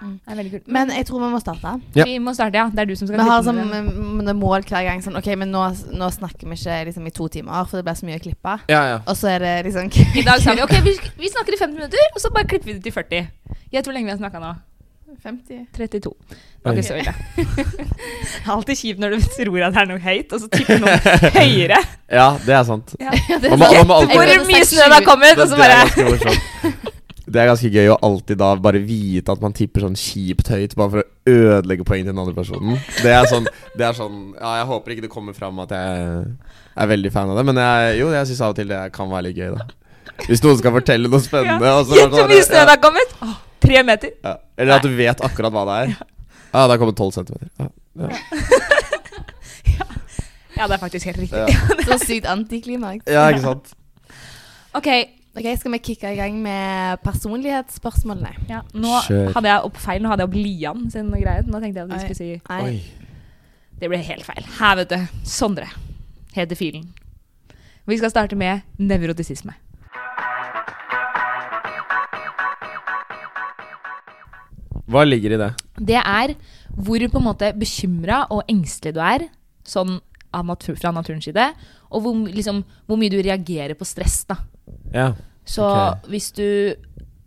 Det er veldig kult.
Men jeg tror vi må starte.
Ja.
Vi må starte, ja. Det er du som skal
Vi har
klippe
som
med det.
eh, mål hver gang sånn OK, men nå, nå snakker vi ikke liksom, i to timer, for det blir så mye å klippe.
Ja, ja.
Og så er det liksom
I dag sa vi ok, vi, vi snakker i 50 minutter, og så bare klipper vi det til 40. Gjett hvor lenge vi har snakka nå.
50.
32. Det var
Oi.
ikke så ille. Det er alltid kjipt når du tror at det er noe høyt, og så tipper noen høyere.
ja, det er sant.
Ja.
Ja, det
Man må- man må alltid-
Hvor mye snø det har kommet, og så
Det er
bare
ganske morsomt. Det er ganske gøy å alltid da bare vite at man tipper sånn kjipt høyt bare for å ødelegge poeng til den andre personen. Det er sånn, det er sånn Ja, jeg håper ikke det kommer fram at jeg er veldig fan av det, men jeg, jo, jeg syns av og til det kan være litt gøy, da. Hvis noen skal fortelle noe spennende. og så bare
Gjett hvor
sånn
mye snø
der,
det har kommet! Åh, tre meter.
ja, ja. Eller at du vet akkurat hva det er. Ja, det har kommet 12 centimeter. Ja, ja.
Ja, det er faktisk helt riktig.
Ja.
Så sykt antiklimaks.
ja, ikke sant?
Ok,
Ok, Skal vi kicke i gang med personlighetsspørsmålene?
ja, nå
Kjør.
hadde jeg opp feil. Nå hadde jeg opp Lian sin greie. Nå tenkte jeg at vi skulle si
Nei.
Oi.
Det ble helt feil. Her, vet du. Sondre heter filen. Vi skal starte med nevrotisisme.
Hva ligger i det?
Det er hvor på en måte bekymra og engstelig du er sånn av natur, fra naturens side, og hvor, liksom, hvor mye du reagerer på stress. da.
Ja.
Så
Ok.
hvis du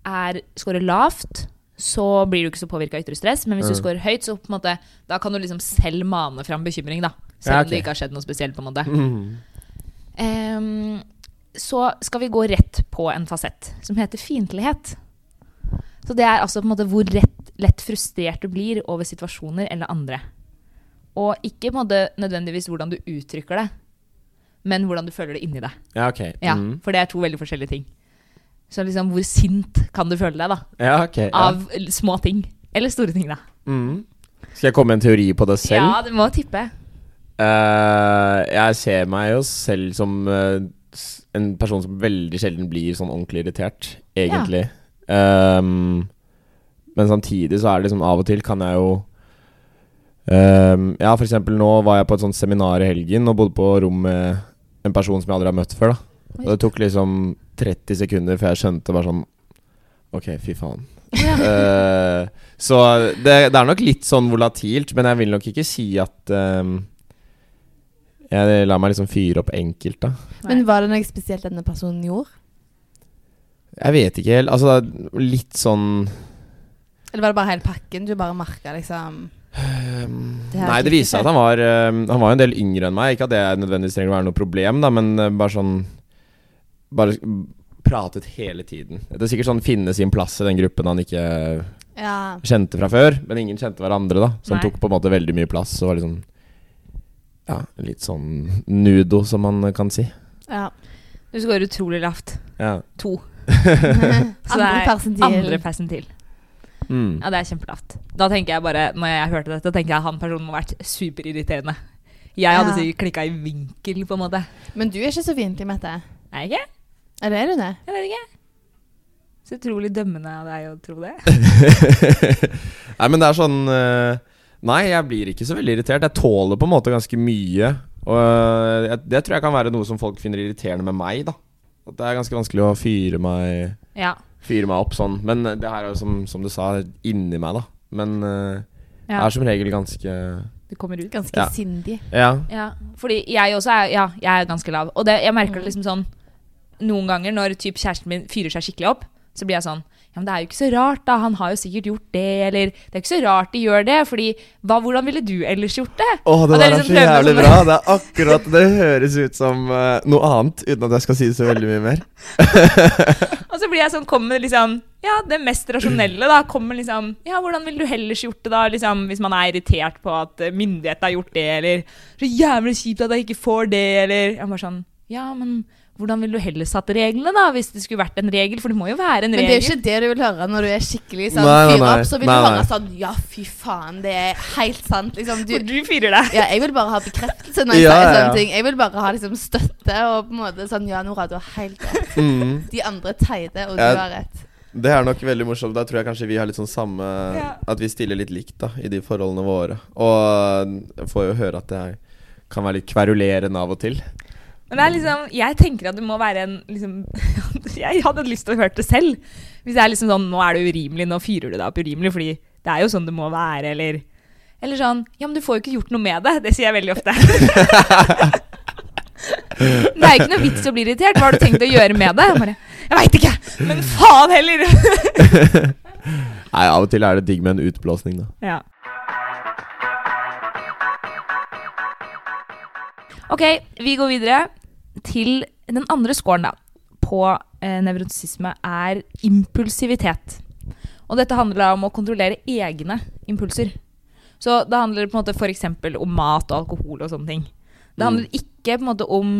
er, scorer lavt, så blir du ikke så påvirka av ytre stress, men hvis du
Mm.
scorer høyt, så på en måte, da kan du liksom selv mane fram bekymring. da. Selv
Ja,
om det
ok.
ikke har skjedd noe spesielt. på en måte.
Mm.
Ehm, så skal vi gå rett på en fasett som heter fiendtlighet. Så det er altså på en måte hvor rett, lett frustrert du blir over situasjoner eller andre. Og ikke på en måte nødvendigvis hvordan du uttrykker det, men hvordan du føler det inni deg.
Ja, ok.
Ja,
Mm.
For det er to veldig forskjellige ting. Så liksom hvor sint kan du føle deg, da?
Ja, ok. Ja.
Av små ting. Eller store ting, da.
Mm. Skal jeg komme med en teori på det selv?
Ja, du må tippe.
Eh, jeg ser meg jo selv som eh, s- en person som veldig sjelden blir sånn ordentlig irritert, egentlig. Ehm, men samtidig så er det liksom av og til kan jeg jo ehm, Ja, for eksempel nå var jeg på et sånt seminar i helgen og bodde på rom med en person som jeg aldri har møtt før. da Og det tok liksom 30 sekunder før jeg skjønte bare sånn Ok, fy faen. Eh, så det, det er nok litt sånn volatilt, men jeg vil nok ikke si at ehm, jeg lar meg liksom fyre opp enkelt, da.
Men var det noe spesielt denne personen gjorde?
Jeg vet ikke helt. Altså, det er litt sånn
Eller var det bare hele pakken? Du bare merka liksom Det her
ehm, Nei, det
klikker
viste seg at han var øhm, Han var jo en del yngre enn meg. Ikke at det nødvendigvis trenger å være noe problem, da, men øh, bare sånn Bare sk- pratet hele tiden. Det er sikkert sånn finne sin plass i den gruppen han ikke
Ja.
kjente fra før. Men ingen kjente hverandre, da. Så han
Nei.
tok på en måte veldig mye plass og var liksom Ja, litt sånn nudo, som man øh, kan si.
ja.
Du scorer utrolig lavt.
Ja.
To. Så det
Andre
er
persentil.
Andre persentil.
Mm.
Ja, det er kjempelavt. Da tenker jeg bare, når jeg hørte dette, tenker jeg han personen må ha vært superirriterende. Jeg hadde
Ja.
sikkert klikka i vinkel, på en måte.
Men du er ikke så fiendtlig, Mette.
Nei, ikke?
Eller er du det?
Jeg vet ikke. Så utrolig dømmende av deg å tro det.
Nei, men det er sånn eh, Nei, jeg blir ikke så veldig irritert. Jeg tåler på en måte ganske mye. Og eh, jeg, det tror jeg kan være noe som folk finner irriterende med meg, da. At det er ganske vanskelig å fyre meg,
Ja.
fyre meg opp sånn. Men eh, det her er jo som, som du sa, inni meg, da. Men eh, jeg
ja.
er som regel ganske
Det kommer ut.
Ganske
Ja.
sindig.
Ja.
Ja, fordi jeg også er, ja, jeg er ganske lav. Og det, jeg merker det liksom sånn noen ganger når typ kjæresten min fyrer seg skikkelig opp, så blir jeg sånn Ja, men det er jo ikke så rart, da. Han har jo sikkert gjort det, eller Det er ikke så rart de gjør det, fordi hva, hvordan ville du ellers gjort det?
Å,
Og det er der er liksom så prøvende jævlig som-
bra. Det er akkurat Det høres ut som eh, noe annet, uten at jeg skal si så veldig mye mer.
Og så blir jeg sånn, kommer liksom Ja, det mest rasjonelle, da. Kommer liksom Ja, hvordan ville du ellers gjort det, da? Liksom, hvis man er irritert på at eh, myndighetene har gjort det, eller Så jævlig kjipt at jeg ikke får det, eller Jeg er bare sånn Ja, men hvordan ville du heller satt reglene, da? Hvis det skulle vært en regel? For det må jo være en
Men det er
regel.
jo ikke det du vil høre når du er skikkelig sånn
Nei, nei,
fyr
nei.
opp. Så vil
Nei,
du
nei.
høre sånn Ja, fy faen, det er helt sant. Liksom, du,
Hvor du fyrer deg.
ja, jeg vil bare ha bekreftelse når jeg
Ja,
sier
ja, ja.
sånne ting. Jeg vil bare ha liksom, støtte og på en måte sånn Ja, Nora, du har helt rett.
Mm.
De andre er teite, og du
Ja.
har rett.
Det er nok veldig morsomt. Da tror jeg kanskje vi har litt sånn samme
Ja.
At vi stiller litt likt da i de forholdene våre. Og jeg får jo høre at det er- kan være litt kverulerende av og til.
Men det er liksom, jeg tenker at det må være en liksom, Jeg hadde lyst til å høre det selv. Hvis det er liksom sånn Nå er det urimelig, nå fyrer du deg opp urimelig. Fordi det er jo sånn det må være, eller Eller sånn Ja, men du får jo ikke gjort noe med det. Det sier jeg veldig ofte. Det er ikke noe vits å bli irritert. Hva har du tenkt å gjøre med det? Jeg bare Jeg veit ikke! Men faen heller!
Nei, av og til er det digg med en utblåsning, da.
Ja. Ok, vi går videre til den andre scoren, da. på eh, nevrotisisme er impulsivitet. Og dette handler da om å kontrollere egne impulser. Så det handler på en måte f.eks. om mat og alkohol og sånne ting. Det handler ikke på en måte om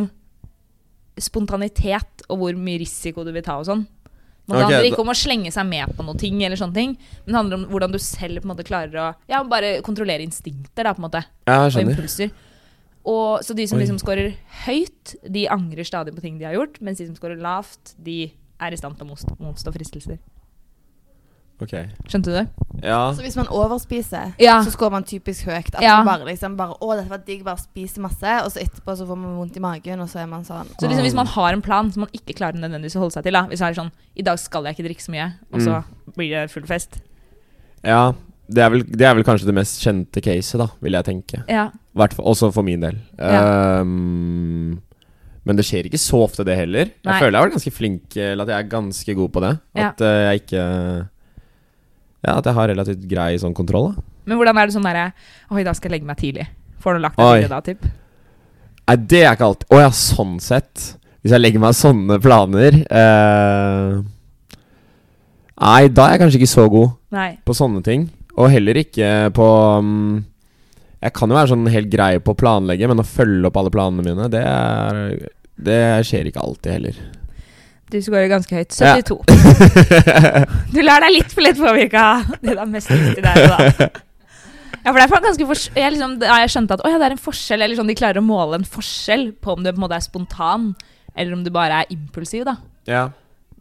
spontanitet og hvor mye risiko du vil ta og sånn. Men det
Ok,
handler
da-
ikke om å slenge seg med på noe ting, eller sånne ting, men det handler om hvordan du selv på en måte klarer å ja, bare kontrollere instinkter. da på en måte
Ja, jeg
og
skjønner.
impulser. Og, så de som
Oi.
liksom scorer høyt, de angrer stadig på ting de har gjort, mens de som scorer lavt, de er i stand til å motst- motstå fristelser.
Ok.
Skjønte du det?
Ja.
Så hvis man overspiser,
Ja.
så skårer man typisk høyt. At
Ja.
man bare liksom bare, Å, dette var digg, bare spiser masse. Og så etterpå så får man vondt i magen, og så er man sånn
Så liksom,
Ah.
hvis man har en plan som man ikke klarer nødvendigvis å holde seg til, da. hvis det er sånn I dag skal jeg ikke drikke så mye, og så
Mm.
blir det full fest.
ja. Det, er vel, det er vel kanskje det mest kjente caset, da, vil jeg tenke.
Ja.
Hvert fall- også for min del.
Ja.
Ehm, men det skjer ikke så ofte, det heller.
Nei.
Jeg føler jeg var ganske flink eh, Eller at jeg er ganske god på det. At eh, jeg ikke Ja, at jeg har relativt grei sånn kontroll. da
Men hvordan er det sånn derre Å, i dag skal jeg legge meg tidlig. Får du lagt
Oi.
deg tidlig da, typ?
Nei, det er ikke alltid Å ja, sånn sett. Hvis jeg legger meg sånne planer eh, Nei, da er jeg kanskje ikke så god
Nei.
på sånne ting. Og heller ikke på mm, Jeg kan jo være sånn helt grei på å planlegge, men å følge opp alle planene mine, det, er, det skjer ikke alltid heller.
Du scorer ganske høyt.
Ja.
72. Du lar deg litt for lett påvirke av det det er mest viktig der og da. Ja, for det er for- ganske fors jeg, liksom, da jeg skjønte at «Å ja, det er en forskjell, eller sånn, de klarer å måle en forskjell på om du på en måte er spontan, eller om du bare er impulsiv, da.
ja.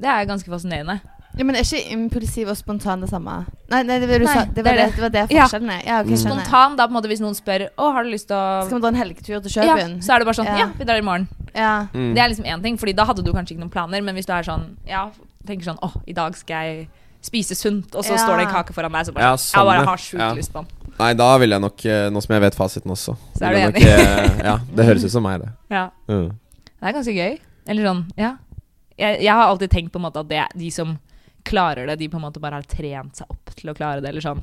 Det er ganske fascinerende.
Ja, Men er ikke impulsiv og spontan det samme? Nei, nei det, var det du
Nei,
sa, det, var
det er
det,
det.
det var det
Ja.
forskjellen er. Ja, ok, skjønner.
Spontan, da på en måte hvis noen spør å, har du lyst til
Skal
å
vi dra en helgetur til
ja,
Kjøben?
Så er det bare sånn
Ja.
ja, vi drar i morgen.
Ja.
Mm.
Det er liksom én ting, Fordi da hadde du kanskje ikke noen planer, men hvis du er sånn ja, tenker sånn å, i dag skal jeg spise sunt, og så
Ja.
står det en kake foran deg, så bare
Ja,
jeg
sånn, ja.
bare har sjukt
Ja.
lyst på den.
Nei, da vil jeg nok eh, Nå som jeg vet fasiten også
Så er du
vil jeg nok, eh, ja, det høres ut som meg, det.
Ja.
Mm.
Det er ganske gøy. Eller sånn, ja. Jeg, jeg har alltid tenkt på en måte at det, de som klarer det, de på en måte bare har trent seg opp til å klare det, eller sånn.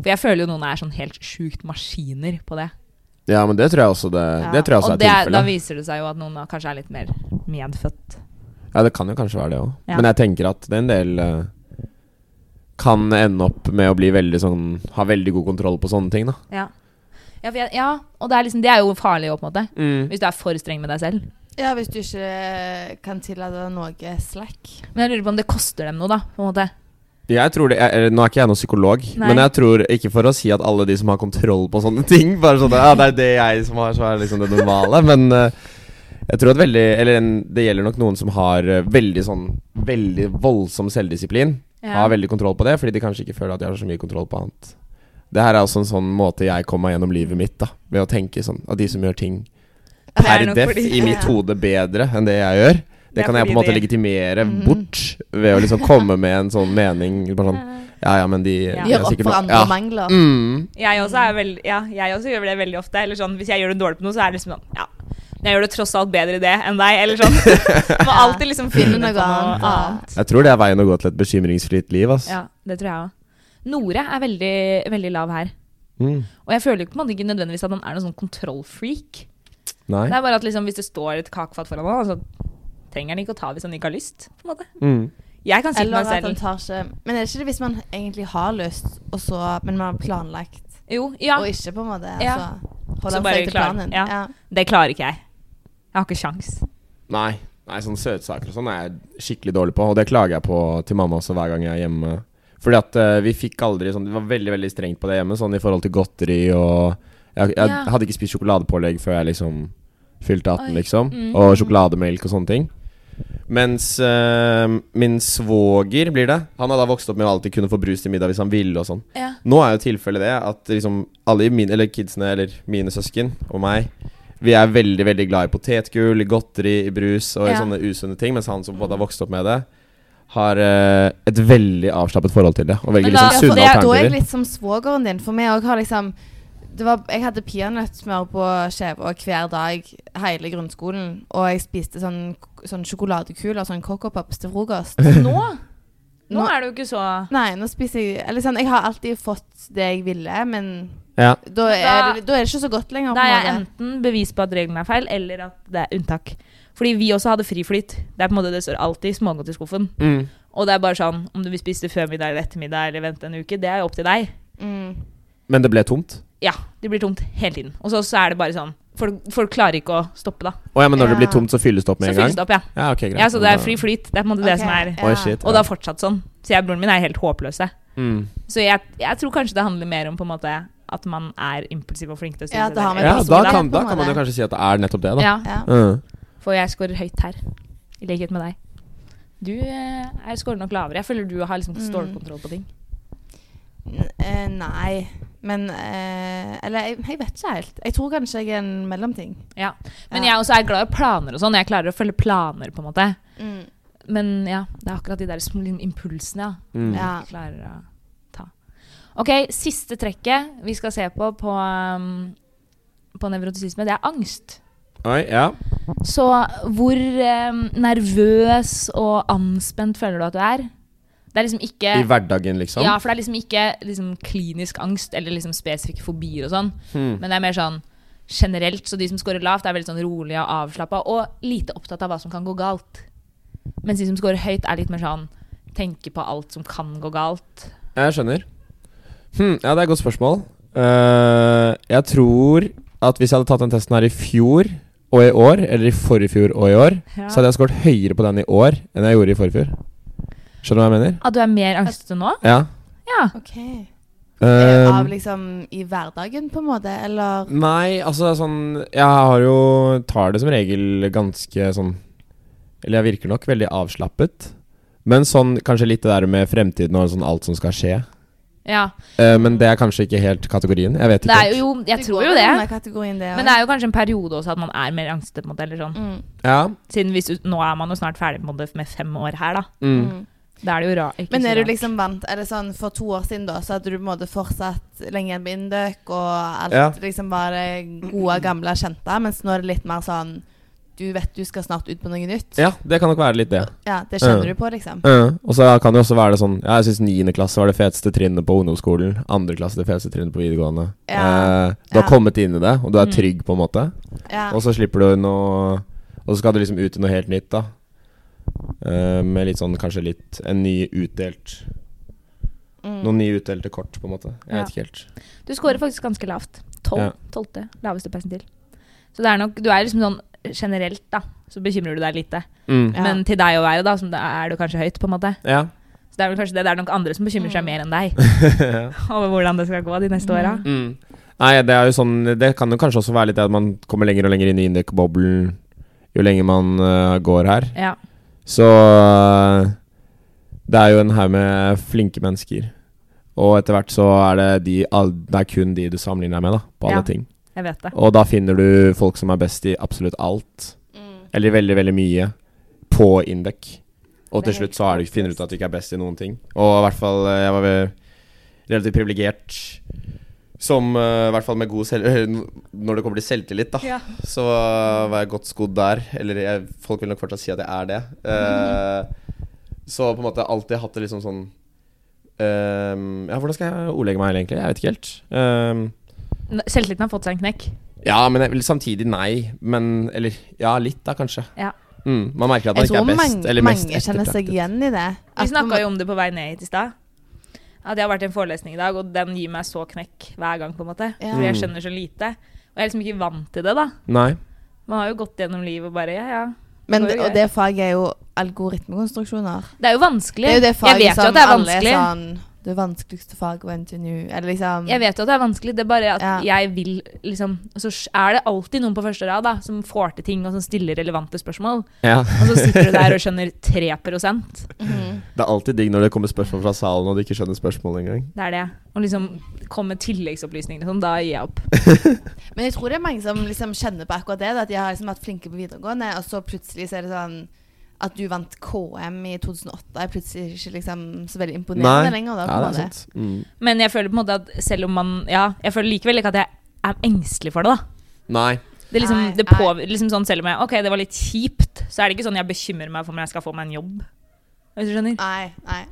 For jeg føler jo noen er sånn helt sjukt maskiner på det.
Ja, men det tror jeg også det, det tror jeg også
Og
er
det, er-
tilfellet.
da viser det seg jo at noen da kanskje er litt mer medfødt.
Ja, det kan jo kanskje være det òg.
Ja.
Men jeg tenker at det er en del eh, kan ende opp med å bli veldig sånn Ha veldig god kontroll på sånne ting, da.
Ja, ja, for jeg, ja og det er, liksom, det er jo farlig òg, på en måte.
Mm.
Hvis du er for streng med deg selv.
ja, hvis du ikke eh, kan tillate noe slack.
Men jeg lurer på om det koster dem noe, da. på en måte.
Jeg tror det jeg, eller, Nå er ikke jeg noen psykolog,
Nei.
men jeg tror ikke for å si at alle de som har kontroll på sånne ting Bare sånn at ja, det er det jeg som har, så er liksom det normale. Men eh, jeg tror at veldig Eller en, det gjelder nok noen som har eh, veldig sånn Veldig voldsom selvdisiplin.
Ja.
Har veldig kontroll på det, fordi de kanskje ikke føler at de har så mye kontroll på annet. Det her er også en sånn måte jeg kom meg gjennom livet mitt, da. Ved å tenke sånn at de som gjør ting
Det er
per
nok
def
fordi-
i mitt hode bedre enn det jeg gjør.
Det
Det,
er
kan jeg på en
fordi
måte
de-
legitimere
Mhm.
bort ved å liksom komme med en sånn mening. Bare sånn Ja ja, men de
Ja.
de er
Gjør opp
sikkert
for
noe-
andre
ja.
mangler.
Mm.
Jeg også, er veld, ja, jeg også gjør det veldig ofte. Eller sånn, hvis jeg gjør det dårlig på noe, så er det liksom sånn Ja, men jeg gjør det tross alt bedre i det enn deg, eller sånn. Må alltid liksom finne
Finne
noe
noe
annet.
annet.
Jeg tror det er veien å gå til et bekymringsfritt liv, ass.
Ja, det tror jeg òg. Nore er veldig, veldig lav her.
Mm.
Og jeg føler jo ikke, på en måte ikke nødvendigvis at han er noen sånn kontrollfreak.
Nei.
Det er bare at liksom, hvis det står et kakefat foran han, så trenger han ikke å ta hvis han ikke har lyst. På en måte.
Mm.
Jeg kan si til
Eller
meg
at han
selv
tar ikke Men er det ikke det hvis man egentlig har lyst, og så, men man har planlagt,
Jo, ja.
og ikke på en måte
Ja.
altså,
Så
holder han
bare
seg til
klar.
planen?
Ja. Det klarer ikke jeg. Jeg har ikke sjans.
Nei. Nei, sånne søtsaker og sånn er jeg skikkelig dårlig på, og det klager jeg på til mamma også hver gang jeg er hjemme. Fordi at eh, vi fikk aldri sånn Det var veldig veldig strengt på det hjemme, sånn i forhold til godteri og Jeg, jeg
Ja.
hadde ikke spist sjokoladepålegg før jeg liksom fylte 18,
Oi.
liksom.
Mm.
Og sjokolademelk og sånne ting. Mens eh, min svoger, blir det Han har da vokst opp med å alltid kunne få brus til middag hvis han ville og sånn.
Ja.
Nå er jo tilfellet det at liksom alle i min, eller kidsene, eller mine søsken og meg, vi er veldig veldig glad i potetgull, i godteri, i brus og i
Ja.
sånne usunne ting. Mens han som både har vokst opp med det, har eh, et veldig avslappet forhold til det. Og
Men
velger
da-
Ja,
liksom
for
sunne
det, da er jeg
alternativer.
litt som svogeren din, for vi òg har liksom det var, Jeg hadde peanøttsmør på Skjevåg hver dag hele grunnskolen. Og jeg spiste sånn, sånn sjokoladekuler, sånn Coco Pops til frokost.
Nå, nå
Nå-
er det jo ikke så
Nei, nå spiser jeg Eller sånn, jeg har alltid fått det jeg ville, men
Ja.
da
Men da-
er det, da er det ikke så godt lenger. på
Da er
en
jeg
måte.
enten bevis på at reglene er feil, eller at det er unntak. Fordi vi også hadde friflyt. Det er på en måte det står alltid smågodt i skuffen.
Mm.
Og det er bare sånn, om du vil spise det før middag eller ettermiddag eller vente en uke, det er jo opp til deg.
Mm.
Men det ble tomt?
Ja, det blir tomt hele tiden. Og så, så er det bare sånn Folk, folk klarer ikke å stoppe, da.
Å ja, men når det blir
Ja.
tomt, så fylles det opp
Så
med en
fylles
gang?
det opp, ja.
Ja, ok, greit.
ja. Så det er
Da-
fri flyt. Det er på en måte det
Ok,
som er
ja.
Oi, shit.
Og det har fortsatt sånn. Så jeg og broren min er helt håpløse.
Mm.
Så jeg, jeg tror kanskje det handler mer om på en måte at man er impulsiv og flink til å
Ja,
styre
det har
seg
med
Ja, da
personlighet,
kan,
på
da
en
kan man jo
måte.
kanskje si at det er nettopp det, da.
Ja,
Ja.
Mm.
for jeg scorer høyt her. I likhet med deg. Du eh, er scorer nok lavere. Jeg føler du har liksom
Mm.
stålkontroll på ting.
N- eh, nei. Men eh, Eller jeg, jeg vet ikke helt. Jeg tror kanskje jeg er en mellomting.
Ja. Men
Ja.
jeg også er glad i planer og sånn. Jeg klarer å følge planer, på en måte.
Mm.
Men ja, det er akkurat de der små lille impulsene, ja.
Mm.
Ja.
ikke klarer å ta. Ok, siste trekket vi skal se på på, um, på nevrotisisme, det er angst.
Oi, ja.
Så hvor um, nervøs og anspent føler du at du er? Det er liksom ikke
I hverdagen, liksom?
Ja, for det er liksom ikke liksom, klinisk angst eller liksom spesifikke fobier og sånn,
Mm.
men det er mer sånn generelt. Så de som scorer lavt, er veldig sånn rolige og avslappa og lite opptatt av hva som kan gå galt. Mens de som scorer høyt, er litt mer sånn tenker på alt som kan gå galt.
Jeg skjønner. Hm, ja, det er et godt spørsmål. Eh, jeg tror at hvis jeg hadde tatt den testen her i fjor og i år, eller i forrige fjor og i år,
Ja.
så hadde jeg skåret høyere på den i år enn jeg gjorde i forrige fjor. Skjønner du hva jeg mener?
At du er mer angstete nå?
Ja.
Ja.
Ok.
Eh,
av liksom i hverdagen, på en måte? Eller
Nei, altså sånn Jeg har jo Tar det som regel ganske sånn Eller jeg virker nok veldig avslappet. Men sånn kanskje litt det der med fremtiden og sånn alt som skal skje.
ja.
Eh, men det er kanskje ikke helt kategorien. Jeg vet
Det
ikke.
er jo, jeg tror jo det.
Denne kategorien, det
Men det er jo kanskje en periode også at man er mer angstete. på en måte, eller sånn.
mm.
Ja.
Siden hvis du, Nå er man jo snart ferdig på en måte med fem år her, da.
Mm.
Mm.
Da er det jo rart. ikke
Men
så
er du
rart.
liksom vant Er det sånn for to år siden, da, så hadde du på en måte fortsatt lenge igjen på Indøk, og alt
Ja.
liksom var det gode, gamle, kjente, mens nå er det litt mer sånn Du vet du skal snart ut på noe nytt.
ja, det kan nok være litt det.
Ja, det kjenner du
Ja.
på, liksom.
Eh, og så kan det jo også være det sånn Ja, jeg syns niende klasse var det feteste trinnet på ungdomsskolen. Andre klasse det feteste trinnet på videregående.
Ja.
Eh, du har
Ja.
kommet inn i det, og du er
Mm.
trygg, på en måte.
Ja.
Og så slipper du noe Og så skal du liksom ut i noe helt nytt, da. Eh, med litt sånn kanskje litt En ny utdelt
Mm.
Noen nye utdelte kort, på en måte. Jeg
Ja.
vet ikke helt.
Du scorer faktisk ganske lavt.
Ja.
Tolv. Tolvte. Laveste persentil. Så det er nok Du er liksom sånn generelt, da. Så bekymrer du deg lite.
Mm.
Ja.
Men til deg å være, da, som det er du kanskje høyt, på en måte.
Ja.
Så det er vel kanskje det. Det er nok andre som bekymrer seg
Mm.
mer enn deg
Ja.
over hvordan det skal gå de neste åra.
mm. Nei, det er jo sånn Det kan jo kanskje også være litt det at man kommer lenger og lenger inn i indekboblen jo lenger man eh, går her.
Ja.
Så øh, det er jo en haug med flinke mennesker. Og etter hvert så er det, de, all, det er kun de du sammenligner deg med, da, på alle
Ja.
ting.
Jeg vet det.
Og da finner du folk som er best i absolutt alt,
Mm.
eller veldig, veldig mye, på Indek. Og
Det er
til slutt
helt
så er du, finner du ut at du ikke er best i noen ting. Og i hvert fall, øh, jeg var vel relativt privilegert som øh, I hvert fall med god selv... Når det kommer til selvtillit, da.
Ja.
Så eh, var jeg godt skodd der. Eller jeg, folk vil nok fortsatt si at jeg er det. Eh, Så på en måte alltid hatt det liksom sånn ehm, Ja, hvordan skal jeg ordlegge meg egentlig? Jeg vet ikke helt. Ehm,
N- Selvtilliten har fått seg en knekk.
ja, men jeg vil samtidig nei. Men Eller ja, litt da, kanskje.
Ja.
Mm, man merker at man
Jeg
ikke
tror
er best.
mange,
eller mest
mange kjenner seg
ettertraktet.
igjen i det.
Vi snakka jo om det på vei ned hit i stad. At jeg har vært i en forelesning i dag, og den gir meg så knekk hver gang. på en måte.
Ja.
For
Mm.
jeg skjønner så lite. Og jeg er liksom ikke vant til det, da.
Nei.
Man har jo gått gjennom livet og bare ja, ja.
Men
Det
det,
går jo
og det faget er jo algoritmekonstruksjoner.
Det er jo vanskelig.
Det er jo
jeg
det faget
vet jo
som
at det er
alle er
vanskelig.
sånn Det vanskeligste faget å NTNU Eller liksom
Jeg vet jo at det er vanskelig, det er bare at
Ja.
jeg vil liksom og Så er det alltid noen på første rad da som får til ting og som stiller relevante spørsmål.
Ja.
Og så sitter du der og skjønner 3 Det
Mhm.
Det er alltid digg når det kommer spørsmål fra salen, og du ikke skjønner spørsmålet engang.
er det. Og liksom komme med tilleggsopplysninger og sånn, da gir jeg opp.
Men jeg tror det er mange som liksom kjenner på akkurat det. da, At de har liksom vært flinke på videregående, og så plutselig så er det sånn at du vant KM i 2008, er plutselig ikke liksom så veldig imponerende lenger. Da, på
ja,
en
det er
måte.
sant. Mm.
Men jeg føler på en måte at selv om man Ja, jeg føler likevel ikke at jeg er engstelig for det, da.
Nei.
Det er liksom,
Nei,
det
nei.
påvir- liksom sånn Selv om jeg Ok, det var litt kjipt, så er det ikke sånn jeg bekymrer meg for om jeg skal få meg en jobb. Hvis du skjønner?
Nei, nei.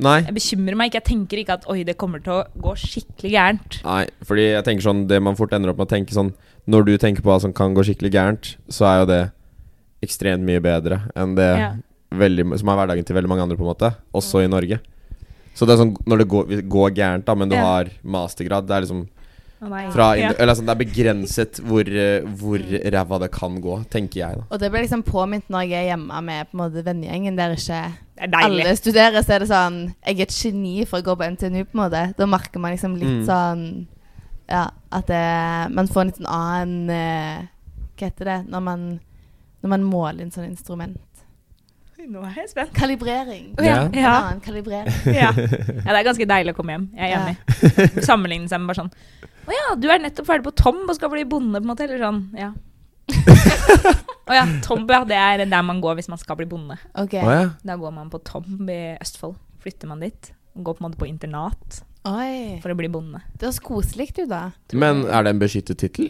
Nei.
Jeg bekymrer meg ikke. Jeg tenker ikke at oi, det kommer til å gå skikkelig gærent.
Nei, fordi jeg tenker sånn Det man fort ender opp med å tenke sånn Når du tenker på hva som kan gå skikkelig gærent, så er jo det ekstremt mye bedre enn det
Ja.
veldig, som er hverdagen til veldig mange andre, på en måte. Også i Norge. Så det er sånn når det går, går gærent, da, men du
Ja.
har mastergrad Det er liksom
Å nei.
fra
Ja.
Eller altså, det er begrenset hvor, eh, hvor ræva det kan gå, tenker jeg, da.
Og det blir liksom påminnet når jeg er hjemme med på en måte vennegjengen der ikke
Det er deilig.
alle studerer, så er det sånn Jeg er et geni for å gå på NTNU, på en måte. Da merker man liksom litt
Mm.
sånn Ja, at det, man får en litt sånn annen eh, Hva heter det? Når man, når man måler inn sånne instrument.
Nå er jeg spent.
Kalibrering.
Å, ja.
Ja.
Ja.
En annen kalibrering.
Ja. ja, det er ganske deilig å komme hjem. Jeg er enig. Sammenligne seg med bare sånn Å ja, du er nettopp ferdig på Tom og skal bli bonde, på en måte. Eller sånn. Ja. Å ja, Tom, ja. Det er der man går hvis man skal bli bonde.
OK.
Å ja.
Da går man på Tom i Østfold. Flytter man dit. Går på en måte på internat
Oi.
for å bli bonde.
Det høres koselig ut, da.
Men er det en beskyttet tittel?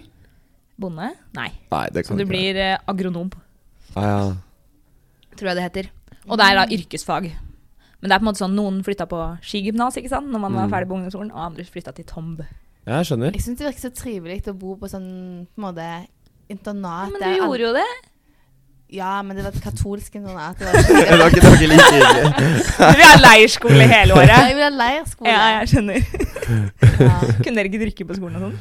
Bonde? Nei.
Nei, det
Så
kan
du
Sånn ikke
blir eh, agronom,
være. ah, ja.
tror jeg det heter. Og det er da yrkesfag. Men det er på en måte sånn, noen flytta på skigymnas ikke sant? når man var
Mm.
ferdig på ungdomsskolen, og andre flytta til Tomb.
ja, jeg skjønner.
Jeg syns det virker så trivelig å bo på sånn på en måte internat.
Men du
der alle-
gjorde jo det.
Ja, men det var et katolsk internat. Det var
det var ikke, det var ikke like hyggelig.
Vi har leirskole hele
Jeg
året.
ville ha leirskole.
Ja, jeg skjønner.
Ja.
Kunne dere ikke drikke på skolen og sånn?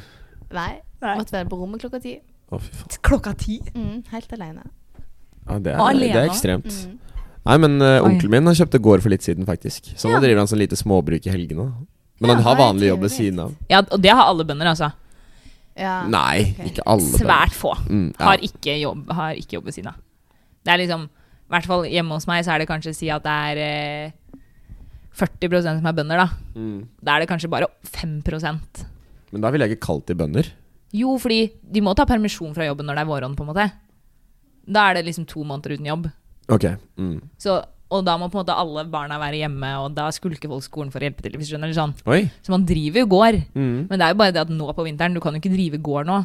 Nei.
Nei.
Måtte være på rommet klokka ti.
Å, fy faen.
Klokka ti?
Mm, helt alene.
Ja,
Og
det, er, det
alene.
er ekstremt.
Mm.
Nei, men eh,
Oi.
onkelen min han kjøpte gård for litt siden, faktisk. Så nå
Ja.
driver han sånn lite småbruk i helgene. Men
Ja,
han har
nei,
vanlig jobb ved
trivelig.
siden av.
Ja, og det har alle bønder, altså.
Ja.
Nei,
ok.
ikke alle. bønder.
Svært få
Mm, ja.
har ikke jobb, har ikke jobb ved siden av. Det er liksom I hvert fall hjemme hos meg så er det kanskje si at det er eh, 40 som er bønder, da.
Mm.
Da er det kanskje bare 5
Men da ville jeg ikke kalt de bønder.
Jo, fordi de må ta permisjon fra jobben når det er vårånd, på en måte. Da er det liksom to måneder uten jobb.
Ok. Mm.
Så, og da må på en måte alle barna være hjemme, og da skulker folk skolen for å hjelpe til. hvis du skjønner eller sånn.
Oi.
Så man driver jo gård,
Mm.
men det er jo bare det at nå på vinteren, du kan jo ikke drive gård nå.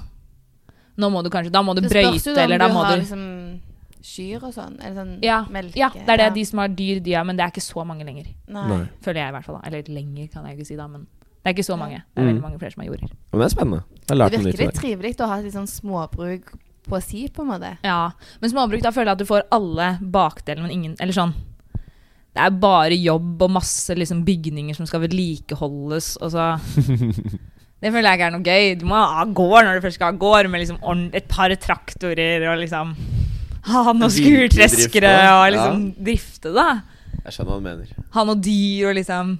Nå må du kanskje, Da må du
Det spørs
brøyte,
jo om
eller da må
har
du
liksom kyr og sånn. Eller sånn
ja,
melke.
ja, det er det. De som har dyr, de er, men det er ikke så mange lenger.
Nei.
Nei.
Føler jeg i hvert fall. da. Eller lenger, kan jeg ikke si da, men det er ikke så mange. Det er
Mm.
veldig mange flere som er jorder.
Men det er spennende. Jeg har lært
Det
noe nytt
virker
i
litt
dag.
trivelig å ha et litt sånn småbruk på si, på en måte.
Ja, men småbruk, da føler jeg at du får alle bakdelene, men ingen Eller sånn. Det er bare jobb og masse liksom, bygninger som skal vedlikeholdes, og så Det føler jeg ikke er noe gøy. Du må ha gård når du først skal ha gård, med liksom ordn- et par traktorer og liksom Ha noen
Virkelig drifte,
skurtreskere og liksom
ja.
drifte, da.
Jeg skjønner hva du mener.
Ha noe dyr og liksom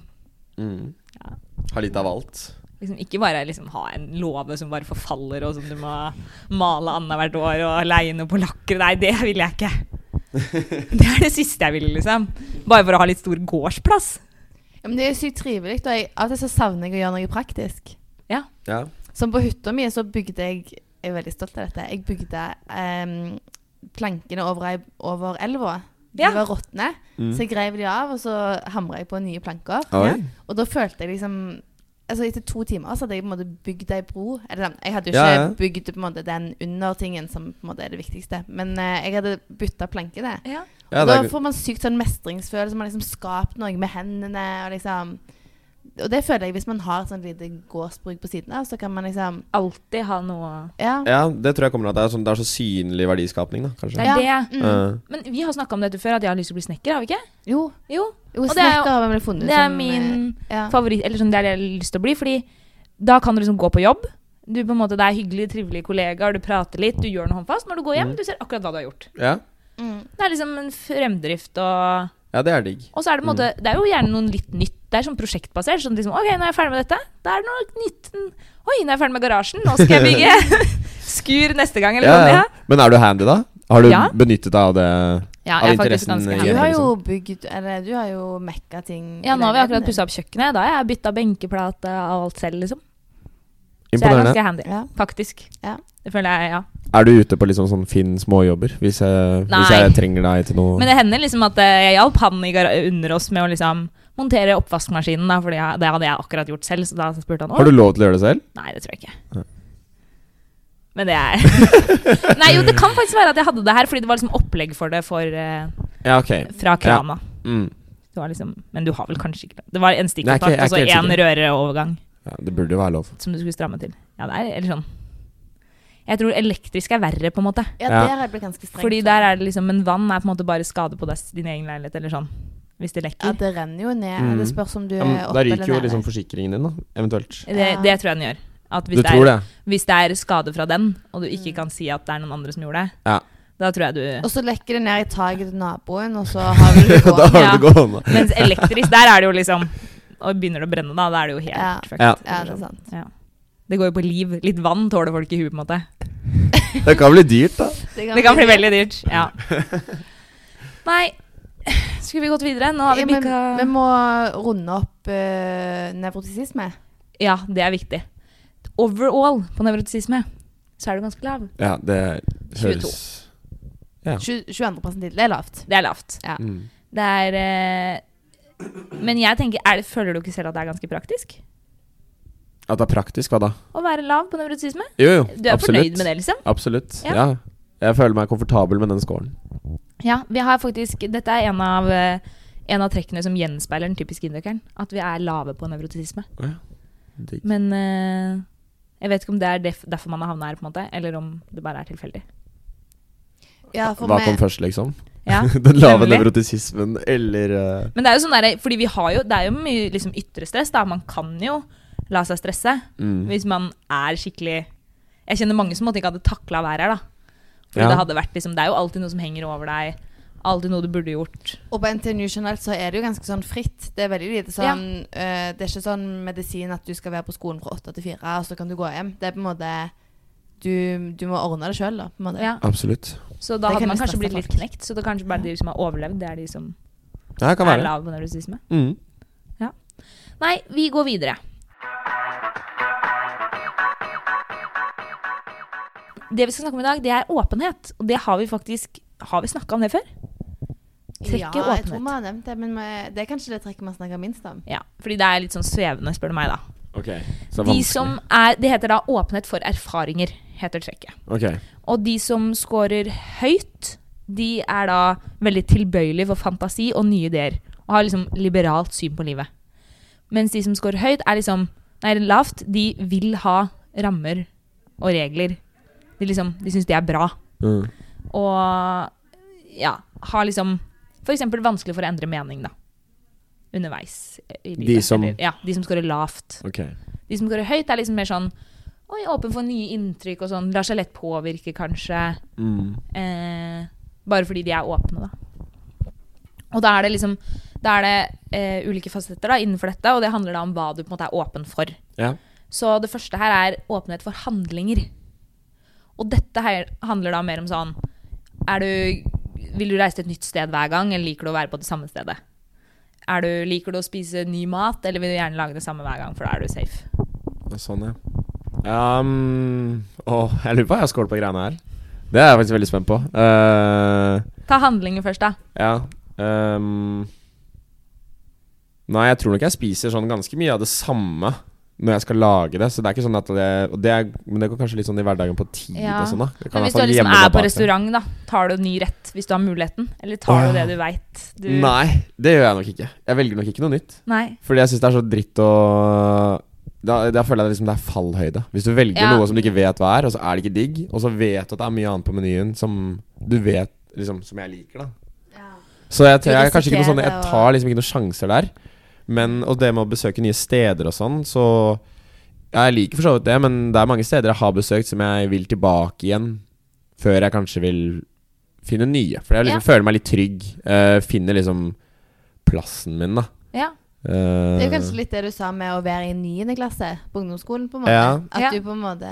Mm.
Ja.
Har litt av alt.
Liksom, ikke bare liksom ha en låve som bare forfaller, og som du må male annethvert år og leie noe på lakkeret. Nei, det vil jeg ikke. Det er det siste jeg vil, liksom. Bare for å ha litt stor gårdsplass.
Ja, men det er jo sykt trivelig. Og jeg, av og til så savner jeg å gjøre noe praktisk.
Ja.
Som på hytta mi så bygde jeg Jeg er veldig stolt av dette. Jeg bygde em, plankene over, ei- over elva. De
Ja.
var råtne,
Mm.
så jeg greiv de av, og så hamra jeg på nye planker.
Oi.
Og da følte jeg liksom Altså Etter to timer så hadde jeg på en måte bygd ei bro. Eller sånn, jeg hadde jo ikke
Ja, ja.
bygd på en måte den undertingen som på en måte er det viktigste. Men eh, jeg hadde bytta planke, det.
Ja.
Ja,
og
det
da
er,
får man sykt sånn mestringsfølelse. Man har liksom skapt noe med hendene. Og liksom Og det føler jeg hvis man har et sånn lite gårdsbruk på siden av, så kan man liksom
Alltid ha noe
Ja.
ja, det tror jeg kommer av at det er, sånn, det er så synlig verdiskapning, da,
Det
kanskje.
er
Ja.
det.
Mm.
Men vi har snakka om dette før, at jeg har lyst til å bli snekker, har vi ikke?
Jo.
Jo.
Jo,
Og det er jo-
snekker har vi vel funnet
Det er
som, eh,
min
ja.
favoritt Eller sånn det er det jeg har lyst til å bli, fordi da kan du liksom gå på jobb. Du på en måte, Det er hyggelige, trivelige kollegaer, du prater litt, du gjør noe håndfast. Når du går hjem,
Mm.
du ser akkurat hva du har gjort.
Ja.
Mm.
Det er liksom en fremdrift og
ja, det er digg.
Og så er det, på en måte,
Mm.
det er jo gjerne noen litt nytt. Det er sånn prosjektbasert. Sånn liksom, ok, nå er jeg ferdig med dette. Da er det noe nytt. Oi, nå er jeg ferdig med garasjen. Nå skal jeg bygge skur neste gang, eller
Ja,
noe.
ja. Men er du handy, da? Har du
Ja.
benyttet deg av det?
Ja,
Av
jeg er faktisk
interessen
ganske
eh, i
Du
handy.
hjemme.
har jo bygd Eller du har jo mekka ting.
Ja, nå har vi akkurat pussa
pussa
opp kjøkkenet. Da har jeg bytta benkeplate og alt selv, liksom. Så jeg er
Imponerende.
ganske handy,
Ja.
faktisk.
Ja.
Det føler jeg, ja.
Er du ute på liksom sånn Finn småjobber? Hvis jeg, hvis
Nei.
jeg trenger deg til noe
Men det hender liksom at eh, jeg hjalp han i gara- under oss med å liksom montere oppvaskmaskinen, da, for det hadde jeg akkurat gjort selv, så da spurte han
Har du lov til å gjøre det selv?
Nei, det tror jeg ikke. Men det er Nei, jo, det kan faktisk være at jeg hadde det her, fordi det var liksom opplegg for det for, eh,
Ja, ok.
fra krana.
Mm.
Det var liksom, men du har vel kanskje ikke Det var en
Nei, jeg er ikke-
stikkontakt
jeg er
og så
ikke
én
helt
røreovergang
Ja, det burde jo være lov.
som du skulle stramme til. Ja, det er eller sånn Jeg tror elektrisk er verre, på en måte.
Ja,
Ja.
der har jeg blitt ganske streng.
Fordi der er det liksom Men vann er på en måte bare skade på deg, din egen leilighet eller sånn. Hvis det
Ja,
lekker.
det renner jo ned.
Mm.
Det spørs om du
Ja,
er
men
oppe
da
eller
ryker jo
nede.
liksom forsikringen din, da, eventuelt.
Det,
Ja.
det tror jeg den gjør. At hvis,
Du
det
tror
er,
det?
hvis det er skade fra den, og du ikke
Mm.
kan si at det er noen andre som gjorde det,
Ja.
da tror jeg du
Og så lekker det ned i taket til naboen, og så har du det
da
gående.
har du det gående.
Mens elektrisk, der er det jo liksom Og begynner det å brenne, da. Da er det jo helt
Ja.
fucked.
Ja.
Ja, det er sant.
Det går jo på liv. Litt vann tåler folk i huet, på en måte.
Det kan bli dyrt, da.
Det kan bli veldig dyrt. Ja. Nei, skulle vi gått videre? Nå har vi
Ja, men
bikka
vi må runde opp uh, nevrotisisme.
Ja, det er viktig. Overall på nevrotisisme så er du ganske lav.
Ja, det høres
22.
Ja.
20 22 til, det er lavt.
Det er lavt.
Ja.
mm.
Det er eh, Men jeg tenker, er det, føler du ikke selv at det er ganske praktisk
At det er praktisk, hva da?
å være lav på nevrotisisme?
Jo, jo.
Du er fornøyd med det, liksom?
Absolutt.
Ja.
Ja. Jeg føler meg komfortabel med den scoren.
Ja, vi har faktisk Dette er en av, eh, en av trekkene som gjenspeiler den typiske indokeren. At vi er lave på nevrotisisme.
Digg.
Men eh, jeg vet ikke om det er def derfor man har havna her, på en måte, eller om det bare er tilfeldig.
Ja, for
Hva
vi-
kom først, liksom?
Ja,
den lave
nemlig.
nevrotisismen eller eh,
Men det er jo sånn der, fordi vi har jo, det er jo mye liksom, ytre stress. Da. Man kan jo la seg stresse
mm.
hvis man er skikkelig Jeg kjenner mange som måtte ikke hadde takla å være her. da. Fordi
Ja.
det, hadde vært, liksom, det er jo alltid noe som henger over deg. Alltid noe du burde gjort.
Og på NTNU generelt så er det jo ganske sånn fritt. Det er veldig lite sånn eh, Det er ikke sånn medisin at du skal være på skolen fra åtte til fire, og så kan du gå hjem. Det er på en måte Du, du må ordne det sjøl, da. På en måte.
Ja.
Absolutt.
Så da
Det
hadde
kan
man
jo
kanskje
stresse
blitt litt
folk.
knekt. Så det er kanskje bare de som har overlevd, det er de som
Ja, det kan
er
være.
lave på nevrotisisme.
Mm.
Nei, vi går videre. Det vi skal snakke om i dag, det er åpenhet. Og det har vi faktisk Har vi snakka om det før? Trekket
ja, jeg
åpenhet.
tror vi har nevnt det, men vi- det er kanskje det trekket man snakker minst om.
Ja, fordi det er litt sånn svevende, spør du meg, da.
Ok, så
De som er, det heter da åpenhet for erfaringer, heter trekket.
Ok,
Og de som scorer høyt, de er da veldig tilbøyelige for fantasi og nye ideer. Og har liksom liberalt syn på livet. Mens de som scorer høyt, er liksom Nei, lavt. De vil ha rammer og regler. De liksom De syns det er bra.
mm.
Og ja, har liksom f.eks. vanskelig for å endre mening, da. Underveis. i
De
livet.
som-
Eller, Ja, de som scorer lavt.
ok
De som scorer høyt, er liksom mer sånn Oi, åpen for nye inntrykk og sånn. Lar seg lett påvirke, kanskje.
mm.
Eh, bare fordi de er åpne, da. Og da er det liksom Da er det eh, ulike fasetter da, innenfor dette, og det handler da om hva du på en måte er åpen for.
Ja,
Så det første her er åpenhet for handlinger. Og dette her handler da mer om sånn Er du Vil du reise til et nytt sted hver gang, eller liker du å være på det samme stedet? Er du, liker du å spise ny mat, eller vil du gjerne lage det samme hver gang, for da er du safe?
og sånn ja um, Åh, jeg lurer på hva jeg har skålt på greiene her Det er jeg faktisk veldig spent på Eh,
Ta handlinger først, da.
Ja ehm, Nei, jeg tror nok jeg spiser sånn ganske mye av det samme Når jeg skal lage det Så det er ikke sånn at det, og det er, Men det går kanskje litt sånn i hverdagen på tid
Ja.
og sånn da Jeg
Men
kan i hvert
hvis du
fall
liksom er
gjemme meg
på
bak det.
restaurant, da, tar du ny rett hvis du har muligheten? Eller tar
Åh.
du det du veit? Du...
Nei, det gjør jeg nok ikke Jeg velger nok ikke noe nytt
Nei.
Fordi jeg syns det er så dritt å da, da føler jeg liksom det er fallhøyde. Hvis du velger
Ja.
noe som du ikke vet hva er, og så er det ikke digg, og så vet du at det er mye annet på menyen som du vet liksom Som jeg liker, da. Så jeg, tror- jeg, er kanskje ikke noe sånn Jeg
Prioritere
tar liksom ikke noen sjanser der. Men, og det med å besøke nye steder og sånn, så Jeg liker for så vidt det, men det er mange steder jeg har besøkt som jeg vil tilbake igjen før jeg kanskje vil finne nye. For jeg liksom føler meg litt trygg. eh, finner liksom plassen min, da. Eh,
Ja.
Det er jo kanskje litt det du sa med å være i niende klasse på ungdomsskolen, på en måte.
Ja.
At
Ja.
du på en måte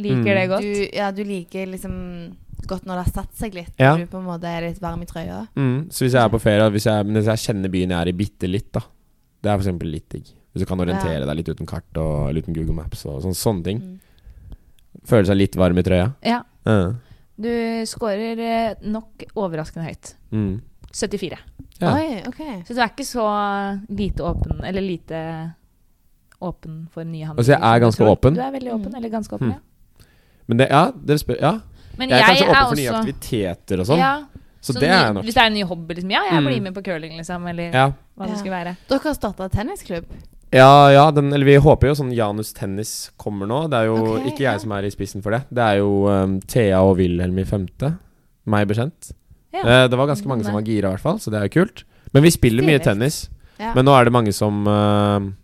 Liker det
Mm.
godt.
Du, ja, du liker liksom godt når det har satt seg litt.
Ja.
Når du på en måte er litt varm i trøya.
Mm, så hvis jeg er på ferie, og hvis jeg, men hvis jeg kjenner byen jeg er i bitte litt, da Det er for eksempel litt digg. Hvis du kan orientere deg litt uten kart og eller uten Google Maps og sånn, sånne ting.
Mm.
Føle seg litt varm i trøya.
ja.
Ja.
Du scorer eh, nok overraskende høyt.
Mm.
74.
Ja.
Oi, ok.
Så du er ikke så lite åpen Eller lite åpen for nye handler.
Altså, jeg er
som du
ganske
tror.
åpen.
Du er veldig åpen,
Mm.
eller ganske åpen,
Mm. Men det, ja, det spør, ja.
ja. Men
Jeg er kanskje åpen for nye aktiviteter og sånn,
Ja,
så, det er jeg nok.
Hvis det er en ny hobby, liksom. Ja, jeg
Mm.
blir med på curling, liksom. Eller
Ja.
hva
Ja.
det skulle være.
Dere har starta tennisklubb.
Ja, ja, den, eller vi håper jo sånn Janus Tennis kommer nå. Det er jo
Ok,
ikke
ja.
jeg som er i spissen for det. Det er jo ehm, Thea og Wilhelm i femte, meg bekjent.
Ja.
Eh, det var ganske mange som var gira, i hvert fall, så det er jo kult. Men vi spiller mye
Stilig.
tennis.
Ja.
Men nå er det mange som ehm,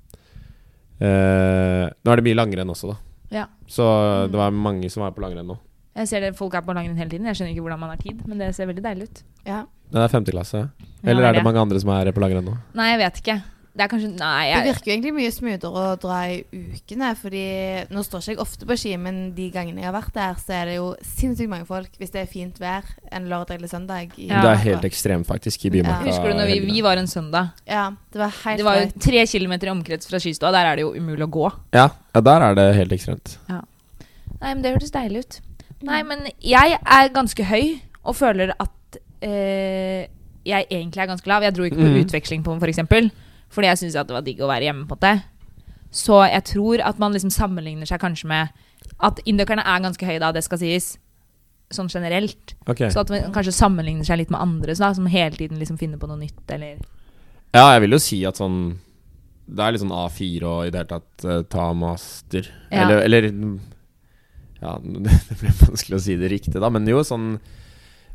eh, Nå er det mye langrenn også, da.
Ja. Mm.
Så det var mange som var på langrenn nå.
Jeg ser det, Folk er på langrenn hele tiden. Jeg skjønner ikke hvordan man har tid, men det ser veldig deilig ut.
ja.
Men det er femte klasse.
Ja,
Eller
det er
er det
det.
mange andre som er på langrenn nå?
Nei, jeg vet ikke. Det er kanskje Nei,
Det
jeg,
virker jo egentlig mye smoothere å dra i ukene, fordi nå står ikke jeg ofte på ski, men de gangene jeg har vært der, så er det jo sinnssykt mange folk hvis det er fint vær en lørdag eller søndag. i-
Ja.
Det er helt ekstremt, faktisk, i Bymarka.
husker du når vi,
helgene.
vi var en søndag?
Ja, det var helt
Det var jo
drøyt.
tre kilometer i omkrets fra skistua. Der er det jo umulig å gå.
ja, ja, der er det helt ekstremt.
Nei, men det hørtes deilig ut. Nei, men jeg er ganske høy og føler at eh, jeg egentlig er ganske lav. Jeg dro ikke på
Mhm.
utveksling på den, for eksempel, fordi jeg syntes at det var digg å være hjemme. på det. Så jeg tror at man liksom sammenligner seg kanskje med At indokerne er ganske høye, da, det skal sies. Sånn generelt.
Ok.
Så at man kanskje sammenligner seg litt med andre så da, som hele tiden liksom finner på noe nytt. Eller.
Ja, jeg vil jo si at sånn Det er litt sånn A4 og i det hele tatt eh, ta master.
Ja.
Eller, eller mm, Ja, det blir vanskelig å si det riktig, da. Men jo, sånn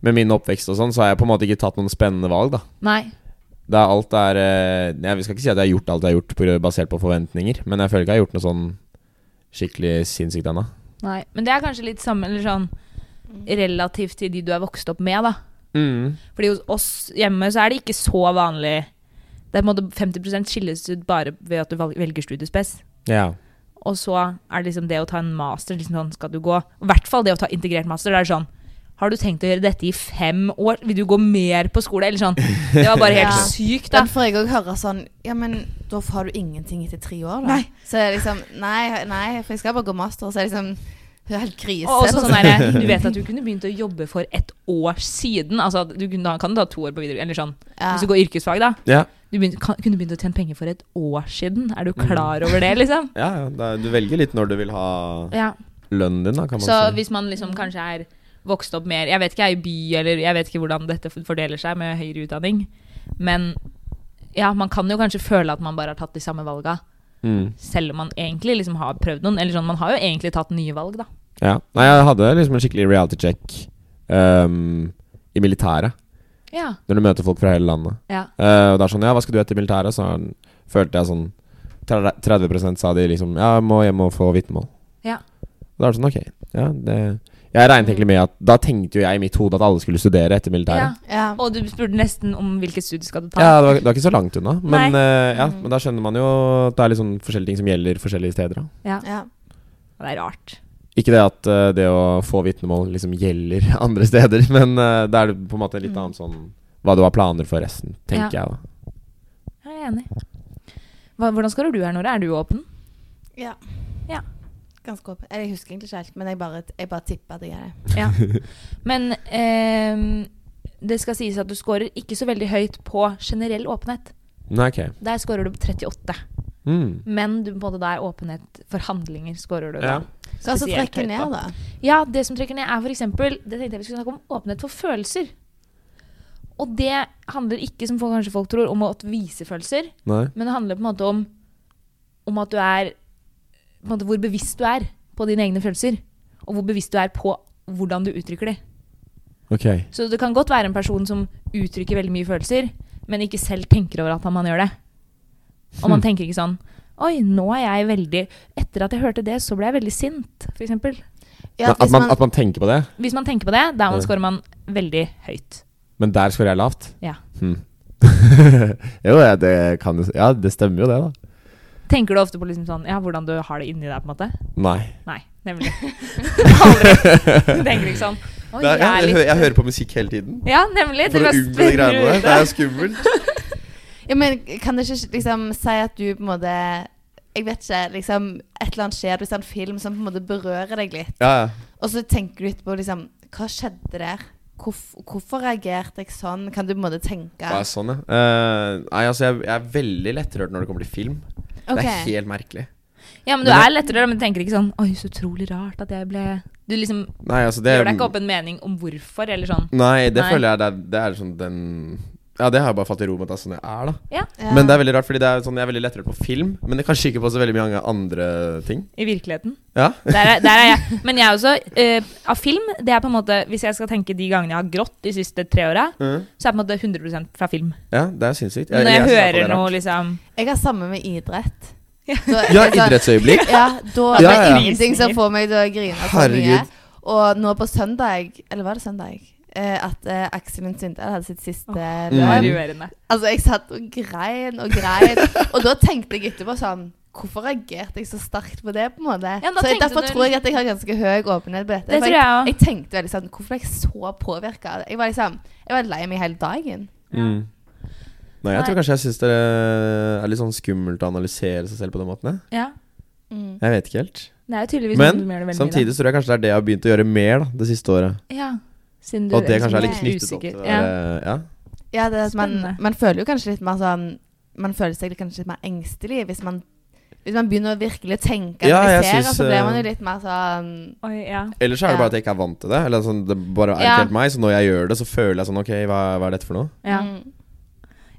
med min oppvekst og sånn, så har jeg på en måte ikke tatt noen spennende valg, da.
Nei.
Det er alt er eh, Jeg vi skal ikke si at jeg har gjort alt jeg har gjort på, grunn- basert på forventninger, men jeg føler ikke jeg har gjort noe sånn skikkelig sinnssykt ennå.
Nei. Men det er kanskje litt sammen, eller sånn
Mm.
relativt til de du er vokst opp med, da.
Mm.
Fordi hos oss hjemme så er det ikke så vanlig Det er på en måte 50 skilles ut bare ved at du valg- velger studiespes.
Ja.
Og så er det liksom det å ta en master liksom sånn skal du gå I hvert fall det å ta integrert master. Det er sånn Har du tenkt å gjøre dette i fem år? Vil du gå mer på skole? Eller sånn. Det var bare helt
Ja.
sykt, da.
Den får jeg òg høre sånn Ja, men da har du ingenting etter tre år, da.
Nei.
Så er det liksom Nei, nei for jeg skal bare gå master. Så er det liksom Det er helt krise.
Og også sånn der, Du vet at du kunne begynt å jobbe for et år siden. Altså, du kunne, da kan du ta to år på videregående. Eller sånn.
ja.
Hvis du går yrkesfag, da.
Ja,
Du begynte- kan, kunne begynt å tjene penger for et år siden. Er du
Mm.
klar over det, liksom?
ja, ja da, du velger litt når du vil ha
Ja.
lønnen din, da, kan man
Så
si.
hvis man liksom kanskje er vokst opp mer Jeg vet ikke, jeg er i by, eller jeg vet ikke hvordan dette fordeler seg med høyere utdanning. Men ja, man kan jo kanskje føle at man bare har tatt de samme valga,
Mm.
selv om man egentlig liksom har prøvd noen. Eller sånn, man har jo egentlig tatt nye valg, da.
Ja. Nei, jeg hadde liksom en skikkelig reality check ehm, i militæret.
Ja.
Når du møter folk fra hele landet.
ja.
Eh, og det er sånn Ja, hva skal du etter militæret? Så han- følte jeg sånn tre- 30 sa de liksom Ja, jeg må hjem og få vitnemål.
Ja.
Og Da er det sånn, ok. Ja, det Jeg regnet egentlig med at Da tenkte jo jeg i mitt hode at alle skulle studere etter militæret.
ja.
Og du spurte nesten om hvilket studie skal du
Ja,
ta.
det, var, det var ikke så langt unna. Men,
Nei. Mm.
eh, ja, men da skjønner man jo at det er litt sånn forskjellige ting som gjelder forskjellige steder. Da.
ja.
Det er rart.
Ikke det at eh, det å få vitnemål liksom gjelder andre steder, men eh, det er på en måte litt
Mm.
annet sånn hva du har planer for resten, tenker jeg da.
Jeg er enig. Hva, hvordan skal du her, Nora? Er du åpen?
Ja.
Ja.
Ganske åpen. Eller Jeg husker egentlig ikke helt, men jeg bare, jeg bare tipper at jeg er det.
Ja. Men ehm, det skal sies at du scorer ikke så veldig høyt på generell åpenhet.
Nei, ok.
Der scorer du på 38.
Mm.
Men du, både der åpenhet for handlinger scorer du da.
Ja.
Hva som
spesielt
altså trekker
høyt
ned,
på.
da?
Ja, det som trekker ned er f.eks. Det tenkte jeg vi skulle snakke om åpenhet for følelser. Og det handler ikke, som folk, kanskje folk tror, om å vise følelser,
Nei.
men det handler på en måte om, om at du er på en måte Hvor bevisst du er på dine egne følelser. Og hvor bevisst du er på hvordan du uttrykker de.
Ok.
Så det kan godt være en person som uttrykker veldig mye følelser, men ikke selv tenker over at man gjør det. Og man tenker ikke sånn Oi, nå er jeg veldig Etter at jeg hørte det, så ble jeg veldig sint, f.eks.
Ja,
at,
hvis
man, at man tenker på det,
Hvis man tenker på det, da
Ja.
scorer man veldig høyt.
men der skårer jeg lavt?
Ja.
Hmm. jo, ja, det kan jo s- Ja, det stemmer jo det, da.
Tenker du ofte på liksom sånn Ja, hvordan du har det inni deg, på en måte?
Nei.
Nei, nemlig. Aldri. Du tenker ikke sånn Oi, jeg er litt
hører på musikk hele tiden.
Ja, nemlig. til å spenne ut det.
skummelt.
Ja, men kan det ikke liksom si at du på en måte Jeg vet ikke. liksom Et eller annet skjer, du ser en film som på en måte berører deg litt.
Ja, ja.
Og så tenker du etterpå liksom Hva skjedde der? Hvorf hvorfor reagerte jeg sånn? Kan du på en måte tenke
Ja, sånn, ja. Eh, nei, altså, jeg, jeg er veldig lettrørt når det kommer til film. Det er
Ok.
helt merkelig.
Ja, men du er lettere, men du tenker ikke sånn Oi, så utrolig rart at jeg ble Du liksom
Nei, altså, det
gjør deg ikke opp en mening om hvorfor, eller sånn.
Nei, det
Nei.
føler jeg det er, det er sånn den Ja, det har jeg bare falt i ro med at det er sånn jeg er, da.
Ja,
Ja.
Men det er veldig rart, fordi det er sånn, jeg er veldig lettrørt på film, men det er kanskje ikke på så veldig mange andre ting.
i virkeligheten.
Ja.
Der er, der er jeg. Men jeg er også eh, Av film, det er på en måte Hvis jeg skal tenke de gangene jeg har grått de siste tre åra,
Mm.
så er det på en måte 100 fra film.
Ja, det er sinnssykt.
Men når jeg,
synes i hvert fall
hører
det er
noe
rart. Mm.
liksom
Jeg har samme med idrett.
Ja.
Så-
Ja,
så-
idrettsøyeblikk.
Ja, da
Ja,
er
ja.
det ingenting som får meg til å grine så mye.
Herregud.
Og nå på søndag, eller var det søndag, eh, at eh, Aksel Lund Svindal hadde sitt siste
Åh, Det var
løp.
Mm.
rørende.
Altså, jeg satt og grein og grein. og da tenkte jeg etterpå sånn Hvorfor reagerte jeg så sterkt på det? på en måte?
Ja, da
så jeg,
tenkte
Derfor
du-
tror jeg at jeg har ganske høy åpenhet på dette.
Det
for
tror jeg òg.
jeg tenkte veldig sånn Hvorfor ble jeg så påvirka? Jeg var liksom Jeg var lei meg hele dagen.
Mm. Nei, jeg
Nei.
tror kanskje jeg syns det er litt sånn skummelt å analysere seg selv på den måten. jeg.
Ja. Mm.
Jeg vet ikke helt.
Det er jo tydeligvis
Men,
noen som gjør det veldig mye,
Samtidig så tror jeg kanskje det er det jeg har begynt å gjøre mer da, det siste året.
da. Ja. Siden du liksom
Og at det kanskje er litt
er
knyttet opp til
usikker.
det.
Ja.
der, Ja.
Ja, det er at man,
Spennende.
man føler jo kanskje litt mer sånn Man føler seg kanskje litt mer engstelig hvis man, hvis man begynner å virkelig tenke
Ja, jeg
analysere,
synes,
så blir man jo
eh,
litt mer sånn
Oi, ja.
Eller så er det
Ja.
bare at jeg ikke er vant til det. Eller sånn, det bare er ikke
Ja.
helt meg Så når jeg gjør det, så føler jeg sånn Ok, hva, hva er dette for noe?
ja.
mm,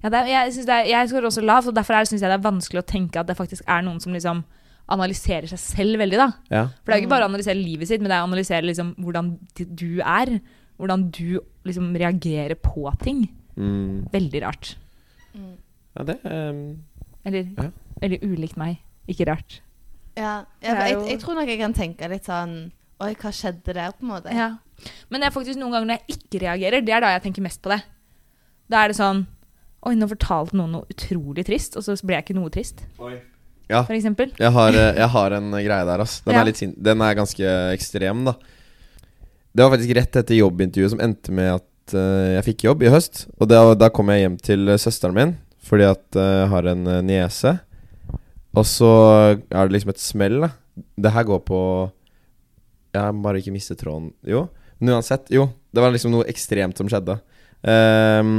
ja det er, jeg, synes det er, jeg skårer også lavt, og derfor syns jeg det er vanskelig å tenke at det faktisk er noen som liksom analyserer seg selv veldig, da.
Ja.
For det er jo ikke
Mm.
bare å analysere livet sitt, men det er å analysere liksom hvordan du er. Hvordan du liksom reagerer på ting.
Mm.
Veldig rart.
mm,
ja det ehm,
Eller
Ja.
veldig ulikt meg. Ikke rart.
Ja.
Det
ja
er
for jeg,
jo-
jeg tror nok jeg kan tenke litt sånn Oi, hva skjedde der, på en måte?
Ja. Men det er faktisk noen ganger når jeg ikke reagerer, det er da jeg tenker mest på det. Da er det sånn Oi, nå fortalte noen noe utrolig trist, og så ble jeg ikke noe trist,
Ja.
for eksempel.
Jeg har, eh, jeg har en greie der, ass. Den,
Ja.
er litt sin den er ganske ekstrem, da. Det var faktisk rett etter jobbintervjuet som endte med at eh, jeg fikk jobb i høst. Og da, da kom jeg hjem til eh, søsteren min, fordi at eh, jeg har en eh, niese. Og så er det liksom et smell, da. Det her går på Jeg må bare ikke miste tråden. Jo. Men uansett, jo. Det var liksom noe ekstremt som skjedde. Ehm,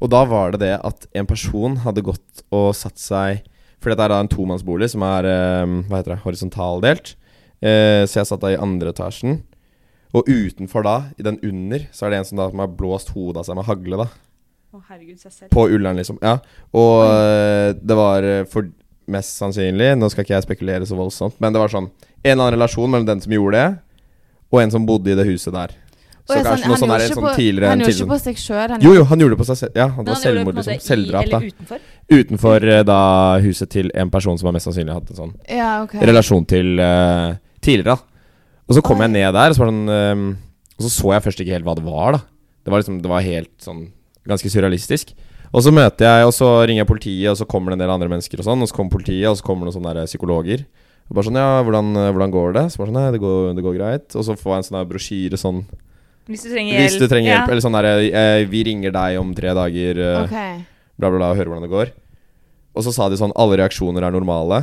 og da var det det at en person hadde gått og satt seg For dette er da en tomannsbolig som er eh, hva heter det, horisontaldelt. Eh, så jeg satt da i andre etasjen. Og utenfor da, i den under, så er det en som da som har blåst hodet av seg med hagle. da
Å, herregud, seg selv.
På Ullern, liksom. Ja. Og eh, det var eh, for mest sannsynlig Nå skal ikke jeg spekulere så voldsomt, men det var sånn en eller annen relasjon mellom den som gjorde det, og en som bodde i det huset der.
Og
Så
jeg, er
kanskje
sånn,
noe sånn
han
er
gjorde
en
ikke
sånn
på-
tidligere
Han
en
gjorde ikke
tidligere
på seg sjøl.
Jo, jo, han gjorde det på seg selv. Ja, han,
Men
var
han gjorde det på
selvmord,
en måte
liksom. Selvdrap,
i
da.
eller utenfor.
Utenfor eh, da huset til en person som har mest sannsynlig hatt en sånn
Ja, ok.
relasjon til eh, tidligere. da Og så kom
Oi.
jeg ned der, og så, var det sånn, ehm, og så så jeg først ikke helt hva det var. da Det var liksom, det var helt sånn ganske surrealistisk. Og så møter jeg, og så ringer jeg politiet, og så kommer det en del andre mennesker, og sånn Og så kommer politiet, og så kommer det noen sånne der psykologer. Og bare sånn, ja, hvordan, hvordan går det? Så bare sånn, nei, det går, det går greit. Og så får jeg en sånn der brosjyre sånn
Hvis du trenger hjelp.
Hvis du trenger hjelp,
Ja.
eller sånn der eh, Vi ringer deg om tre dager. eh,
Ok.
bla, bla, bla, og høre hvordan det går. Og så sa de sånn alle reaksjoner er normale.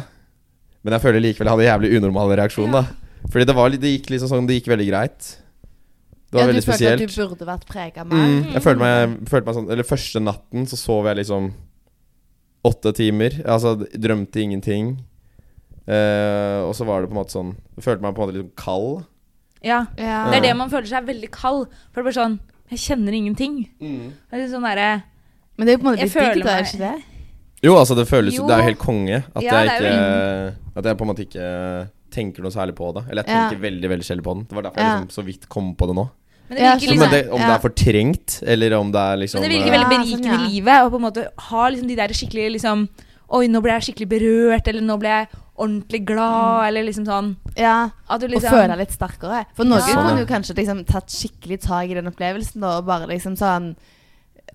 Men jeg føler likevel jeg hadde en jævlig unormal reaksjon,
Ja.
da. Fordi det, var, litt- det gikk liksom sånn Det gikk veldig greit. Det
Ja,
var
du
veldig
følte at du
spesielt.
burde vært prega mer?
Mm, jeg følte meg, følte meg sånn Eller første natten så sov jeg liksom åtte timer. Altså drømte ingenting. Eh, og så var det på en måte sånn Jeg følte meg på en måte litt kald.
Ja.
Ja.
Det er det man føler seg veldig kald. For det er bare sånn Jeg kjenner ingenting. Det er litt sånn derre
Men det er jo på en måte
Jeg
litt digg,
føler
da, er
meg-
det ikke det?
Jo, altså det føles
Jo.
Det er jo helt konge at,
Ja,
jeg
det er
ikke,
jo
at jeg på en måte ikke tenker noe særlig på det. Eller jeg
Ja.
tenker veldig veldig sjelden på den. Det var derfor jeg
Ja.
liksom så vidt kom på det nå.
Men det
Ja,
virker
skjønner.
liksom
men det, om det
Ja.
er fortrengt, eller om det er
Men
liksom
det virker
eh,
veldig
Ja,
berikende
sånn, ja.
i livet å på en måte ha liksom de der skikkelig liksom Oi, nå ble jeg skikkelig berørt, eller nå ble jeg ordentlig glad, eller liksom sånn
Ja.
At du
Mm. Og
liksom
føle deg litt sterkere. For noen
Ja.
kunne
Sånn, ja.
jo kanskje liksom tatt skikkelig tak i den opplevelsen da, og bare liksom sånn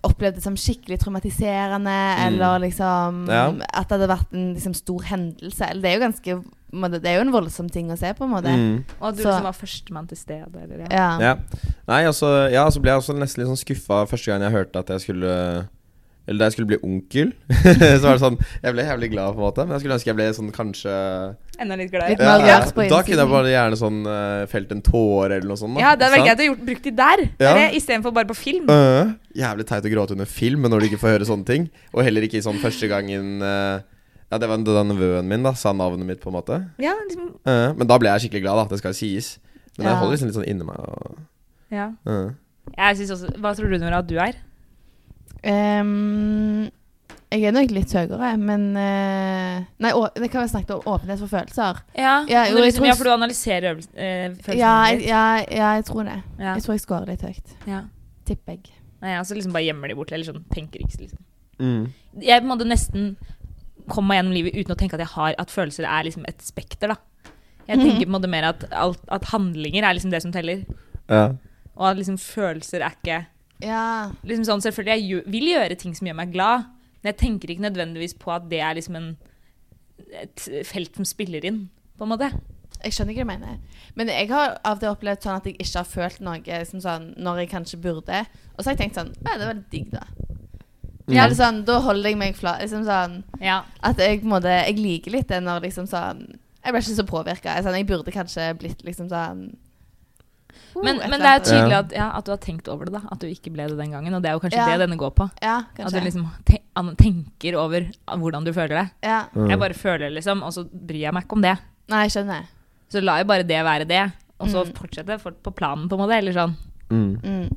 Opplevd det som skikkelig traumatiserende, eller liksom
Ja.
At det hadde vært en liksom, stor hendelse. Eller det er jo ganske på en måte, Det er jo en voldsom ting å se, på en måte.
mm.
Og at du
Så-
liksom var førstemann til stedet, eller ja.
Ja.
Ja. Nei, altså, ja, så ble jeg også nesten litt sånn skuffa første gang jeg hørte at jeg skulle Eller da jeg skulle bli onkel. så var det sånn Jeg ble jævlig glad, på en måte. Men jeg skulle ønske jeg ble sånn kanskje
Enda litt
Litt
glad. i-
mer rørt på
Da kunne
innsiden.
jeg bare gjerne sånn eh, felt en tåre eller noe sånt. da.
Ja, det hadde vært greit
Sant?
å gjort, brukt de der,
Ja.
eller istedenfor bare på film.
Øh, jævlig teit å gråte under film når du ikke får høre sånne ting. Og heller ikke i sånn første gangen eh, Ja, det var da nevøen min, da. Sa navnet mitt, på en måte.
Ja, liksom
Øh, men da ble jeg skikkelig glad, da. Det skal jo sies. Men jeg
Ja.
holder liksom litt sånn inni meg. Og,
Ja.
øh.
Jeg synes også Hva tror du, Nora, at du er?
Ehm, jeg er nok litt høyere, men eh, Nei, å, det kan vi snakke om åpenhet for følelser.
Ja,
Ja,
men
jo, jeg
liksom,
tror-
ja for du analyserer øvelsen eh, følelsen
Ja jeg,
din.
ja, ja, jeg tror det.
Ja,
Jeg tror jeg scorer litt høyt.
ja.
Tipper jeg.
Nei, altså liksom bare gjemmer de bort, eller sånn, tenker ikke liksom.
Mm.
Jeg på en måte nesten kom meg gjennom livet uten å tenke at jeg har, at følelser er liksom et spekter, da. Jeg
Mhm.
tenker på en måte mer at, alt, at handlinger er liksom det som teller,
Ja.
og at liksom følelser er ikke
Ja.
liksom sånn, Selvfølgelig jeg gjø- vil gjøre ting som gjør meg glad, men jeg tenker ikke nødvendigvis på at det er liksom en, et felt som spiller inn, på en måte.
Jeg skjønner ikke hva du mener. Men jeg har av og til opplevd sånn at jeg ikke har følt noe som sånn, når jeg kanskje burde. Og så har jeg tenkt sånn Ja, det var litt digg, da.
Ja.
Eller sånn, da holder jeg meg flat. Liksom sånn
Ja.
At jeg på en måte Jeg liker litt det når liksom sånn Jeg ble ikke så påvirka. Sånn, jeg burde kanskje blitt liksom sånn «Wow»,
Men,
Uh, et
men
eller
det er
annet.
tydelig at, ja, at du har tenkt over det, da. At du ikke ble det den gangen. Og det er jo kanskje
Ja.
det denne går på.
Ja,
At
kanskje.
du liksom te- an- tenker over ah, hvordan du føler det.
ja.
Mm.
Jeg bare føler liksom, og så bryr jeg meg ikke om det.
Nei, jeg skjønner.
Så lar jeg bare det være det, og så
Mm.
fortsette for, på planen, på en måte. Eller sånn.
Mm.
Mm.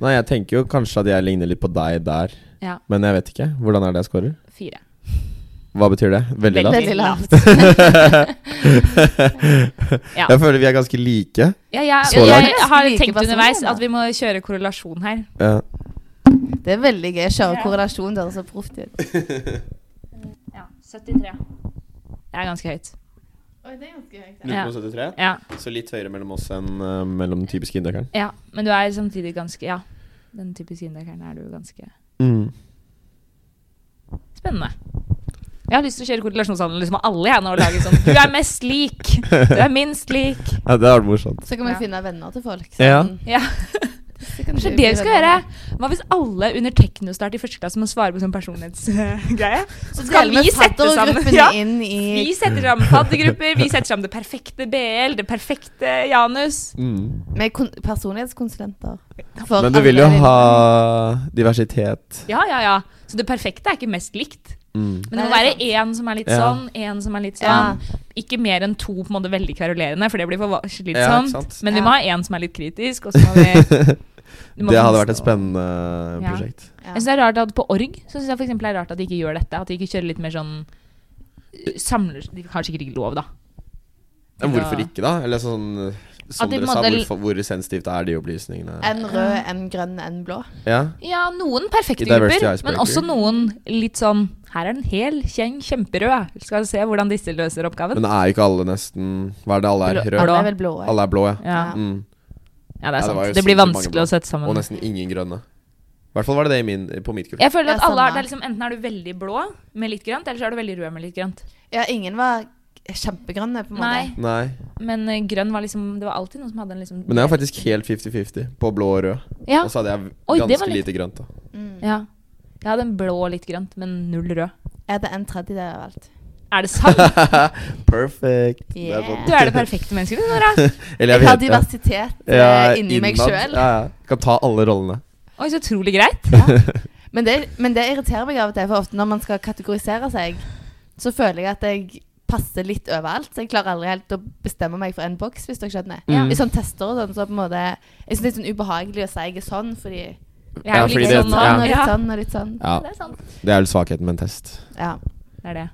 Nei, jeg tenker jo kanskje at jeg ligner litt på deg der,
Ja.
men jeg vet ikke. Hvordan er det jeg scorer?
Fire.
Hva betyr det? Veldig
Veldig.
lavt?
Veldig lavt.
Ja.
Jeg føler vi er ganske like.
Ja, jeg,
Så
jeg,
langt.
har
Like
tenkt
personer,
underveis
da.
at vi må kjøre korrelasjon her.
Ja.
Det er veldig gøy å kjøre
Ja.
korrelasjon. Det høres så proft ut.
Ja, 73. Det er ganske høyt.
Oi, det er ganske høyt.
Ja.
0,73.
Ja,
Så litt høyere mellom oss enn eh, mellom den typiske indøkeren.
ja. Men du er samtidig ganske Ja, den typiske indekeren er du ganske
Mm.
Spennende. Jeg har lyst til å kjøre korrelasjonshandel liksom, med alle jeg nå og lage sånn Du er mest lik! Du er minst lik!
Ja, det er morsomt.
Så kan vi
Ja.
finne venner til folk. sånn.
Ja.
Ja.
Så kan
Kanskje
du
det vi
bli
skal
venner.
gjøre? Hva hvis alle under teknostart i første klasse må svare på sånn personlighetsgreie? Så skal
Deler
vi
vi
sette sammen
faddergruppene
ja.
inn i
Vi setter sammen faddergrupper, vi setter sammen det perfekte BL, det perfekte Janus.
Mm.
Med kon personlighetskonsulenter. For
Sånn
Men du vil jo
alle-
ha diversitet. Mm.
Ja, ja, ja. Så det perfekte er ikke mest likt. Men det må
Nei,
være
det
én som er litt
Ja.
sånn, én som er litt
Ja.
sånn. Ikke mer enn to på en måte veldig kverulerende, for det blir for va-
Ja, ikke
slitsomt.
sant?
Men vi
Ja.
må ha én som er litt kritisk, og så må vi du må
Det hadde
finne
vært et
noe.
spennende
Ja.
prosjekt.
Ja.
Jeg synes det er rart at På org så synes jeg for eksempel det er rart at de ikke gjør dette. At de ikke kjører litt mer sånn eh, samler, De har sikkert ikke lov, da.
Ja, hvorfor ikke, da? Eller sånn eh,
At
Som
de
dere
på en
sa,
måte-
hvorfor- hvor sensitivt er de opplysningene?
En rød, en grønn, en blå.
Ja?
Ja, noen perfekte
I diversity
grupper,
icebreaker.
men også noen litt sånn Her er en hel gjeng kjemperød. Skal vi se hvordan disse løser oppgaven.
Men er ikke alle nesten Hva er det alle er?
Blå-
Røde?
Alle er vel blå.
Alle er blå, ja.
ja.
Ja.
ja,
Mm.
det er
Ja, det
sant.
var jo
det blir
sinnssykt mange
vanskelig
blå.
å sette
Og
sammen.
nesten ingen grønne. I hvert fall var det det i min, på mitt kull.
Jeg føler
Ja,
at alle har,
samme.
det er liksom, Enten er du veldig blå med litt grønt, eller så er du veldig rød med litt grønt.
Ja, ingen var kjempegrønne, på en måte.
Nei,
Nei.
men eh, grønn var liksom Det var alltid noen som hadde en liksom
Men jeg var faktisk helt 50-50 på blå og rød.
ja,
Og så hadde jeg
Oi, det
ganske
var litt-
lite grønt. da
Mm.
ja. Jeg hadde en blå og litt grønt, men null rød.
Er det en tredjedel av alt?
Er det sant?
Perfect. Det er
Yeah.
sånn.
Du er det perfekte mennesket, du, Nora.
Jeg,
Eller jeg
har
vet det.
diversitet
Ja,
eh, inni meg
innad.
sjøl.
Ja, ja. Kan ta alle rollene.
Oi, så utrolig greit.
Men, det- men det irriterer meg av og til, for ofte når man skal kategorisere seg, så føler jeg at jeg passer litt overalt. Så jeg klarer aldri helt å bestemme meg for en boks, hvis dere skjønner.
Mm.
I sånn tester og sånn, så på en måte Jeg syns det er sånn ubehagelig å si jeg er sånn, fordi
Jeg er
Ja,
vel
fordi
ikke
det-
sånn nå.
sånn og litt
Ja.
sånn og litt sånn.
Ja,
Det er sant.
Det er vel svakheten med en test.
Ja.
Det er det.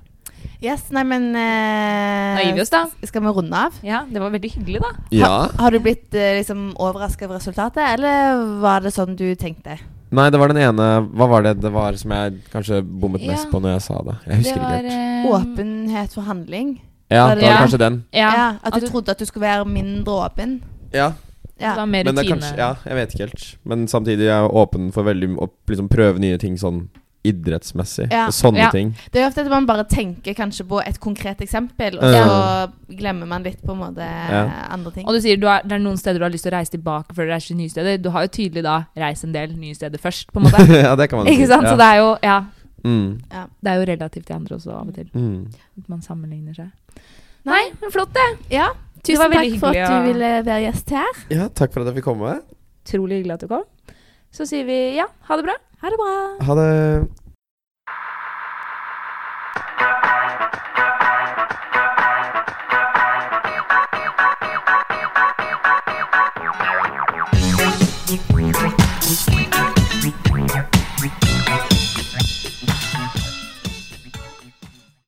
Yes, nei, men eh,
Da gir vi oss, da.
Skal vi runde av?
Ja, det var veldig hyggelig, da.
Ja.
Ha, har du blitt eh, liksom overraska over resultatet, eller var det sånn du tenkte?
Nei, det var den ene Hva var det det var som jeg kanskje bommet mest
Ja.
på når jeg sa det? Jeg husker
det
ikke
var
helt.
Mm.
eh,
Åpenhet for handling?
Ja,
var
det
det-
var
Ja.
kanskje den.
Ja.
Ja,
at
At du
du-
trodde at du skulle være mindre åpen?
Ja,
Det
Ja.
var mer
men det er
rutine.
kanskje Ja, jeg vet ikke helt. Men samtidig er jeg åpen for veldig å liksom prøve nye ting sånn idrettsmessig.
Ja.
Og sånne
Ja.
ting.
Det er jo ofte at man bare tenker kanskje på et konkret eksempel, og så
Ja.
glemmer man litt på en måte andre ting.
Og du sier du har, det er noen steder du har lyst til å reise tilbake før du reiser til nye steder. Du har jo tydelig da reist en del nye steder først, på en måte.
ja, det kan man
ikke sant? Så
Ja.
det er jo Ja.
Mm.
Det er jo relativt til andre også, av og til.
Mm.
At man sammenligner seg.
Nei,
Men flott, det.
ja.
Det
Tusen
var
takk
veldig
for
hyggelig
at du
å-
ville være gjest her.
Ja, takk for at jeg fikk komme.
Utrolig hyggelig at du kom. Så sier vi ja, ha det bra.
Ha det bra.
Ha det.